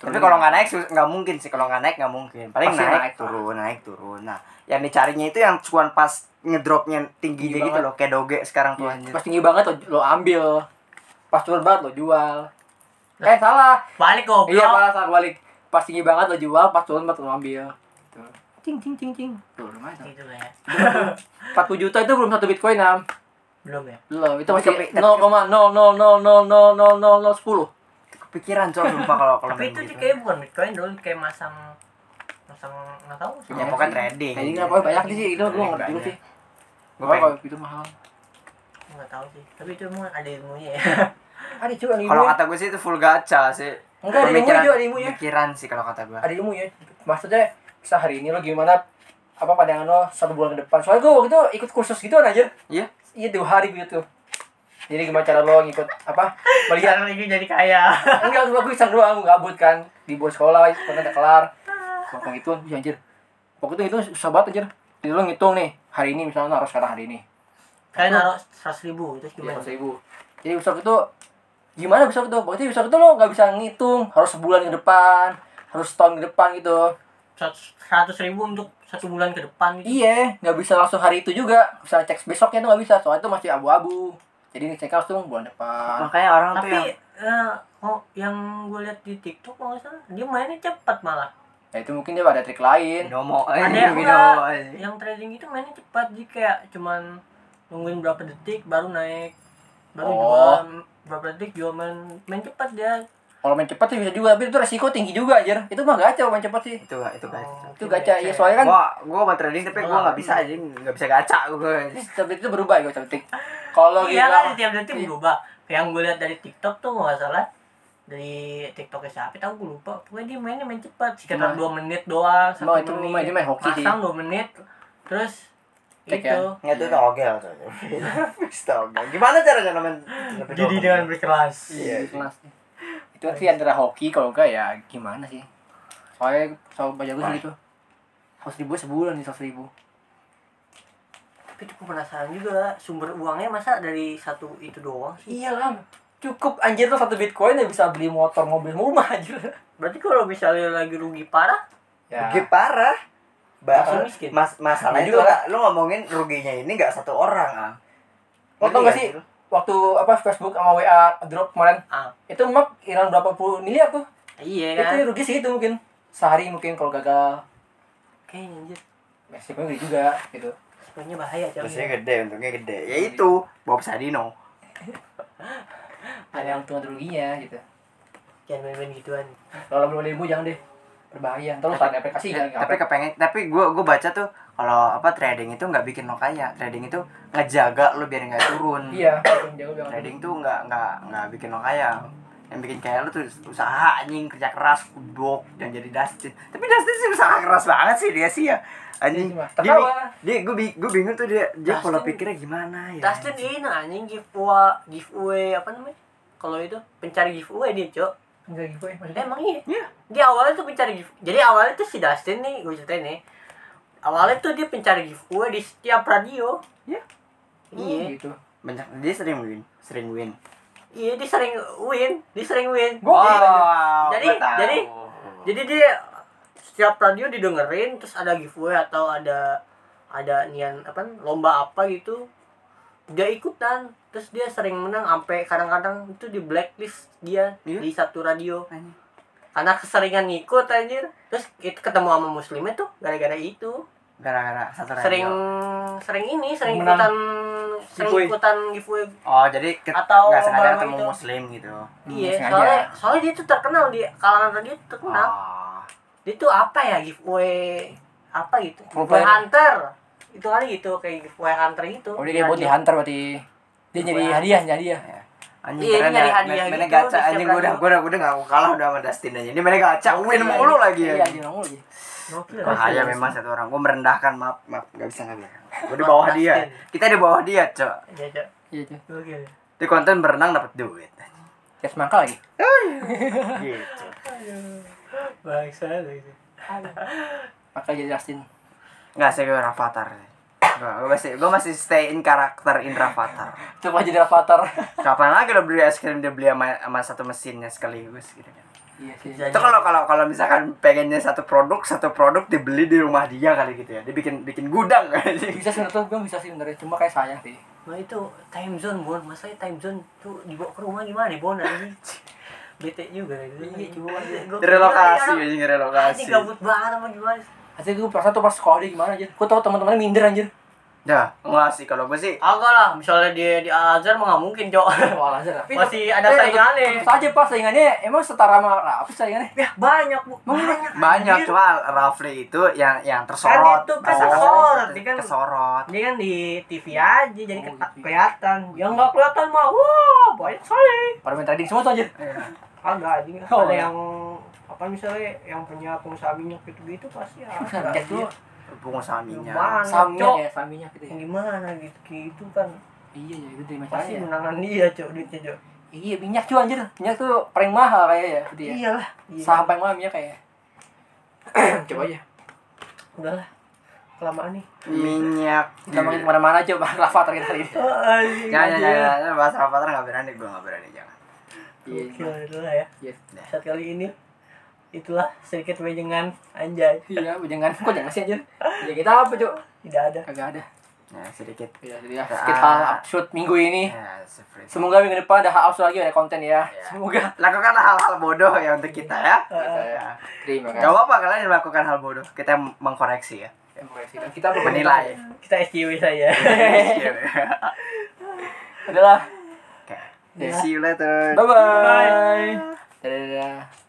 [SPEAKER 2] Tapi kalau nggak naik sus- nggak mungkin sih kalau nggak naik nggak mungkin. Paling
[SPEAKER 4] Pasti
[SPEAKER 2] naik,
[SPEAKER 4] naik,
[SPEAKER 2] turun naik turun. Nah yang dicarinya itu yang cuan pas ngedropnya tinggi
[SPEAKER 4] Tinggi
[SPEAKER 2] aja
[SPEAKER 4] banget.
[SPEAKER 2] gitu loh kayak doge sekarang tuh
[SPEAKER 4] Iya,
[SPEAKER 2] anjir.
[SPEAKER 4] pas tinggi banget lo, lo ambil pas turun banget lo jual eh salah
[SPEAKER 3] Balik goblok.
[SPEAKER 4] iya malah salah balik pas tinggi banget lo jual pas turun banget lo ambil Tuh. cing cing cing cing tuh lumayan
[SPEAKER 3] Gitu lah ya.
[SPEAKER 4] 40 juta itu belum satu bitcoin nam
[SPEAKER 3] Belum ya.
[SPEAKER 4] belum itu
[SPEAKER 2] Tapi
[SPEAKER 4] masih
[SPEAKER 2] kepi- tapi-
[SPEAKER 4] 0,000000010
[SPEAKER 2] Kepikiran coy sumpah kalau kalau
[SPEAKER 3] Tapi
[SPEAKER 2] main
[SPEAKER 3] itu sih
[SPEAKER 2] gitu.
[SPEAKER 3] kayak bukan Bitcoin dulu kayak masang masang nggak tahu sih.
[SPEAKER 2] Ya pokoknya trading.
[SPEAKER 4] Trading apa banyak sih itu gue nggak ngerti juga sih
[SPEAKER 2] Gue
[SPEAKER 4] Gua kalau itu mahal
[SPEAKER 3] Nggak tahu sih. Tapi itu emang ada ilmunya ya.
[SPEAKER 4] ada juga ilmu
[SPEAKER 2] Kalau kata gue sih itu full gacha sih.
[SPEAKER 4] Enggak, ada ilmunya
[SPEAKER 2] Pemikiran-
[SPEAKER 4] juga, ada ilmunya.
[SPEAKER 2] Pikiran sih kalau kata gue.
[SPEAKER 4] ada ilmu ya maksudnya sehari ini lo gimana apa pandangan lo satu bulan ke depan soalnya gue waktu itu ikut kursus gitu aja
[SPEAKER 2] Iya.
[SPEAKER 4] iya dua hari gitu jadi gimana cara lo ngikut apa melihat
[SPEAKER 3] Biar lagi jadi kaya.
[SPEAKER 4] enggak gue gue iseng doang gue gabut kan libur sekolah konten udah kelar Pokoknya gitu kan anjir pokoknya itu itu susah banget anjir jadi lo ngitung nih hari ini misalnya lo harus sekarang hari ini
[SPEAKER 3] Kalian naruh seratus ribu terus
[SPEAKER 4] lima
[SPEAKER 3] gimana?
[SPEAKER 4] ratus ribu Iya, jadi besok itu gimana besok itu berarti besok itu lo nggak bisa ngitung harus sebulan ke depan harus setahun ke depan gitu
[SPEAKER 3] Seratus ribu untuk satu bulan ke depan gitu.
[SPEAKER 4] Iya, nggak bisa langsung hari itu juga. Bisa cek besoknya tuh nggak bisa, soalnya itu masih abu-abu. Jadi cek langsung bulan depan.
[SPEAKER 2] Makanya orang tuh
[SPEAKER 3] Tapi
[SPEAKER 2] yang
[SPEAKER 3] eh, oh, yang gue lihat di TikTok kalau nggak salah dia mainnya cepat malah.
[SPEAKER 4] Ya itu mungkin dia ada trik lain.
[SPEAKER 2] binomo, eh,
[SPEAKER 3] Ada yang
[SPEAKER 2] binomo.
[SPEAKER 3] nggak- yang trading itu mainnya cepat jadi kayak cuman nungguin berapa detik baru naik baru
[SPEAKER 4] Oh.
[SPEAKER 3] jual berapa detik jual main main cepat dia
[SPEAKER 4] Kalau main cepat sih bisa juga, tapi itu resiko tinggi juga anjir. Itu mah gacha main cepat sih.
[SPEAKER 2] Itu itu gacha.
[SPEAKER 4] Oh, Itu
[SPEAKER 3] Iya,
[SPEAKER 4] gacha ya soalnya kan
[SPEAKER 2] Gua gua mau trading tapi gua nggak bisa aja nggak bisa gacha gue.
[SPEAKER 4] setiap detik itu berubah ya setiap detik. Kalau
[SPEAKER 3] iya
[SPEAKER 4] gila
[SPEAKER 3] kan tiap detik berubah
[SPEAKER 4] Iya.
[SPEAKER 3] yang gue lihat dari TikTok tuh nggak salah dari TikToknya siapa tahu gue lupa pokoknya dia mainnya main cepat sekitar
[SPEAKER 4] Nah.
[SPEAKER 3] dua menit doang satu
[SPEAKER 4] Emang Oh, itu main-
[SPEAKER 3] menit
[SPEAKER 4] dia main hoki sih.
[SPEAKER 3] pasang dua menit terus
[SPEAKER 4] Cek
[SPEAKER 3] itu
[SPEAKER 4] ya.
[SPEAKER 2] Nggak tuh itu ogel tuh. Itu ogel. Gimana caranya nemen?
[SPEAKER 4] ya.
[SPEAKER 3] jadi dengan berkelas
[SPEAKER 2] Iya.
[SPEAKER 4] Di kelas. Itu sih antara hoki kalau enggak ya gimana sih? Soalnya soal baca gue sih gitu. Harus ribu sebulan nih seratus ribu.
[SPEAKER 3] tapi gue penasaran juga sumber uangnya masa dari satu itu doang sih
[SPEAKER 4] Iya lah. Cukup anjir tuh satu bitcoin ya bisa beli motor, mobil, rumah anjir.
[SPEAKER 3] berarti kalau misalnya lagi rugi parah
[SPEAKER 4] Ya.
[SPEAKER 2] Rugi parah. Ba-
[SPEAKER 3] Langsung miskin.
[SPEAKER 2] Mas
[SPEAKER 4] Nah,
[SPEAKER 2] masalahnya itu
[SPEAKER 4] juga.
[SPEAKER 2] lah, lu ngomongin ruginya ini nggak satu orang ah.
[SPEAKER 4] Lo tau gak sih waktu apa Facebook sama WA drop kemarin
[SPEAKER 3] ah
[SPEAKER 4] itu mak hilang berapa puluh miliar tuh
[SPEAKER 3] iya
[SPEAKER 4] itu
[SPEAKER 3] kan
[SPEAKER 4] rugi segitu mungkin sehari mungkin kalau gagal
[SPEAKER 3] kayaknya anjir
[SPEAKER 4] resikonya gede juga gitu
[SPEAKER 3] sebenarnya bahaya
[SPEAKER 2] Biasanya
[SPEAKER 3] coy
[SPEAKER 2] gede, untungnya gede. Ya itu, Bob Sadino.
[SPEAKER 4] ada yang untung ada ruginya gitu
[SPEAKER 3] jangan main-main gituan
[SPEAKER 4] kalau belum ribu jangan deh berbahaya terus saat aplikasi jangan
[SPEAKER 2] tapi kepengen tapi gue gue baca tuh kalau apa trading itu nggak bikin lo kaya trading itu ngejaga lo biar nggak turun
[SPEAKER 4] iya untung jauh jangan
[SPEAKER 2] trading tuh nggak nggak nggak bikin lo kaya yang bikin kaya lo tuh usaha anjing kerja keras kudok dan jadi Dustin tapi Dustin sih usaha keras banget sih dia sih ya
[SPEAKER 4] Iya
[SPEAKER 2] anjing
[SPEAKER 4] sih, Mas.
[SPEAKER 2] dia
[SPEAKER 4] Tertawa.
[SPEAKER 2] dia gue gue bingung tuh dia dia
[SPEAKER 3] Dustin-
[SPEAKER 2] pola pikirnya gimana ya
[SPEAKER 3] Dustin ini anjing giveaway giveaway apa namanya kalau itu pencari giveaway dia cok
[SPEAKER 4] enggak gitu ya maksudnya
[SPEAKER 3] emang iya
[SPEAKER 2] Iya.
[SPEAKER 3] dia awalnya tuh pencari giveaway jadi awalnya tuh si Dustin nih gue ceritain nih awalnya tuh dia pencari giveaway di setiap radio
[SPEAKER 2] Iya.
[SPEAKER 4] iya
[SPEAKER 3] iya
[SPEAKER 4] gitu
[SPEAKER 2] banyak dia sering win sering win Oh,
[SPEAKER 3] iya dia sering win dia sering win
[SPEAKER 4] Gua- Wow,
[SPEAKER 3] gitu. jadi-
[SPEAKER 2] gua tahu.
[SPEAKER 3] jadi- jadi dia setiap radio didengerin terus ada giveaway atau ada ada nian apa lomba apa gitu dia ikutan terus dia sering menang sampai kadang-kadang itu di blacklist dia
[SPEAKER 2] Iya.
[SPEAKER 3] di satu radio
[SPEAKER 2] Anjing.
[SPEAKER 3] karena keseringan ngikut anjir terus itu ketemu sama muslimnya tuh gara-gara itu
[SPEAKER 2] gara-gara satu radio.
[SPEAKER 3] sering sering ini sering
[SPEAKER 4] iya. Menang.
[SPEAKER 3] ikutan sering
[SPEAKER 4] Giveaway.
[SPEAKER 3] ikutan giveaway
[SPEAKER 2] oh jadi ke-
[SPEAKER 3] Atau
[SPEAKER 2] nggak sengaja
[SPEAKER 3] lomba-lomba
[SPEAKER 2] ketemu
[SPEAKER 3] itu.
[SPEAKER 2] muslim gitu
[SPEAKER 4] Hmm,
[SPEAKER 3] iya
[SPEAKER 4] sengaja.
[SPEAKER 3] soalnya soalnya dia tuh terkenal di kalangan radio tuh terkenal
[SPEAKER 2] Ah.
[SPEAKER 3] dia tuh apa ya giveaway apa gitu
[SPEAKER 4] Full
[SPEAKER 3] giveaway
[SPEAKER 4] player.
[SPEAKER 3] hunter itu kali gitu kayak giveaway hunter gitu
[SPEAKER 4] oh dia kayak buat di hunter berarti dia nyari
[SPEAKER 3] Wah.
[SPEAKER 4] hadiah nyari hadiah
[SPEAKER 2] Anjing
[SPEAKER 3] Iya,
[SPEAKER 2] keren
[SPEAKER 3] ini nyari
[SPEAKER 2] ya.
[SPEAKER 3] hadiah
[SPEAKER 2] Main- mainnya
[SPEAKER 3] gitu,
[SPEAKER 2] gacha
[SPEAKER 3] di setiap
[SPEAKER 2] anjing gue udah
[SPEAKER 3] radio.
[SPEAKER 2] gue udah gue udah gak kalah udah sama Dustin aja. Ini mainnya gacha win mulu lagi ya.
[SPEAKER 4] iya dia ngomong lagi
[SPEAKER 3] Gokil.
[SPEAKER 2] Bahaya memang satu orang. Gue merendahkan maaf maaf gak bisa gak bisa. Gue di bawah dia. Kita di bawah dia cok.
[SPEAKER 3] Iya, Cok.
[SPEAKER 4] iya tuh
[SPEAKER 3] Gokil.
[SPEAKER 2] Di konten berenang dapat duit.
[SPEAKER 4] kayak semangka lagi
[SPEAKER 2] Gitu.
[SPEAKER 3] Bangsat gitu.
[SPEAKER 4] makanya jadi Justin
[SPEAKER 2] Nggak sih gue Rafathar. Gue masih gue masih stay in karakter in Rafathar.
[SPEAKER 4] coba jadi avatar
[SPEAKER 2] Kapan lagi lo beli es krim dia beli sama, sama satu mesinnya sekaligus gitu kan.
[SPEAKER 4] Iya sih.
[SPEAKER 3] Kerjanya.
[SPEAKER 2] itu kalau kalau kalau misalkan pengennya satu produk satu produk dibeli di rumah dia kali gitu ya dibikin bikin gudang kali
[SPEAKER 4] Bisa sebenarnya gue bisa sih sebenarnya cuma kayak sayang sih.
[SPEAKER 3] Nah itu time zone Bon, masalahnya time zone tuh dibawa ke rumah gimana Bon anjing. Bete juga gitu.
[SPEAKER 4] Iya, cuma
[SPEAKER 3] Gua kira
[SPEAKER 2] relokasi anjing
[SPEAKER 3] ini orang- Iya, Anjing
[SPEAKER 2] relokasi
[SPEAKER 3] gabut banget apa gimana?
[SPEAKER 4] Asli gue perasaan tuh pas sekolah dia gimana anjir. Gue tau teman-temannya minder anjir.
[SPEAKER 2] dah enggak sih kalau gue sih
[SPEAKER 3] Agak lah, misalnya di di Al Azhar mah nggak mungkin cok.
[SPEAKER 4] Wah lazar Eh, lah.
[SPEAKER 3] Masih ada saingannya.
[SPEAKER 4] Saja pas saingannya emang setara sama nah, apa saingannya?
[SPEAKER 3] Ya banyak bu,
[SPEAKER 4] Banyak.
[SPEAKER 2] banyak
[SPEAKER 3] anjir.
[SPEAKER 2] cuma Rafli itu yang yang tersorot
[SPEAKER 3] itu kan
[SPEAKER 2] Oh,
[SPEAKER 3] tersorot, dia kan-
[SPEAKER 2] kesorot
[SPEAKER 3] Dia kan di TV aja jadi
[SPEAKER 4] Oh,
[SPEAKER 3] ketat-
[SPEAKER 4] gitu.
[SPEAKER 3] kelihatan. Yang nggak kelihatan mah, wah banyak sekali.
[SPEAKER 4] Pada main trading semua tuh anjir.
[SPEAKER 2] Iya.
[SPEAKER 3] Agak anjing.
[SPEAKER 4] Oh,
[SPEAKER 3] Ada
[SPEAKER 4] iya.
[SPEAKER 3] yang apa misalnya yang punya pengusaha minyak gitu-gitu pasti ada. Iya.
[SPEAKER 4] Minyak tuh
[SPEAKER 2] pengusaha minyak
[SPEAKER 3] Banyak, Cok.
[SPEAKER 4] Samnya ya, saminya gitu ya.
[SPEAKER 3] gimana gitu gitu kan
[SPEAKER 4] Iya, ya itu dari
[SPEAKER 3] pasti
[SPEAKER 4] masalahnya.
[SPEAKER 3] menangan dia cok duitnya cok
[SPEAKER 4] Iya, minyak cuy anjir. Minyak tuh paling mahal kayaknya ya. Gitu ya.
[SPEAKER 3] iyalah iya.
[SPEAKER 4] Saham paling mahal minyak kayaknya. Coba aja.
[SPEAKER 3] udahlah kelamaan nih
[SPEAKER 2] minyak Iya,
[SPEAKER 4] Kita makin kemana-mana coba lava terakhir hari ini.
[SPEAKER 3] oh, anjing,
[SPEAKER 2] jangan
[SPEAKER 3] anjing.
[SPEAKER 2] jangan jangan Nah, bahas Rafathar nggak berani gue nggak berani jangan
[SPEAKER 4] Iya.
[SPEAKER 3] Gokil, itulah ya
[SPEAKER 4] Yes.
[SPEAKER 3] saat kali ini itulah sedikit wejengan anjay
[SPEAKER 4] Iya, jangan kok jangan sih anjir. Ya kita apa, Cuk?
[SPEAKER 3] tidak ada
[SPEAKER 4] Kagak ada.
[SPEAKER 2] ya sedikit
[SPEAKER 4] Ya, jadi ya, kita upload minggu ini.
[SPEAKER 2] ya seperti
[SPEAKER 4] Semoga minggu depan ada hal lagi ada konten ya. Semoga.
[SPEAKER 2] lakukan hal-hal bodoh ya untuk kita ya
[SPEAKER 3] Iya.
[SPEAKER 4] Kita- Iya. Terima
[SPEAKER 2] Gak
[SPEAKER 4] kasih.
[SPEAKER 2] apa-apa kalian melakukan hal bodoh Kita mengkoreksi ya
[SPEAKER 4] Terima kasih. Dan Kita
[SPEAKER 2] Menilai Iya.
[SPEAKER 3] kita SCW saja
[SPEAKER 4] Iya. Adalah.
[SPEAKER 2] Oke
[SPEAKER 4] Ya.
[SPEAKER 3] Iya.
[SPEAKER 4] Iya.
[SPEAKER 2] See you later
[SPEAKER 4] Bye bye. Dadah.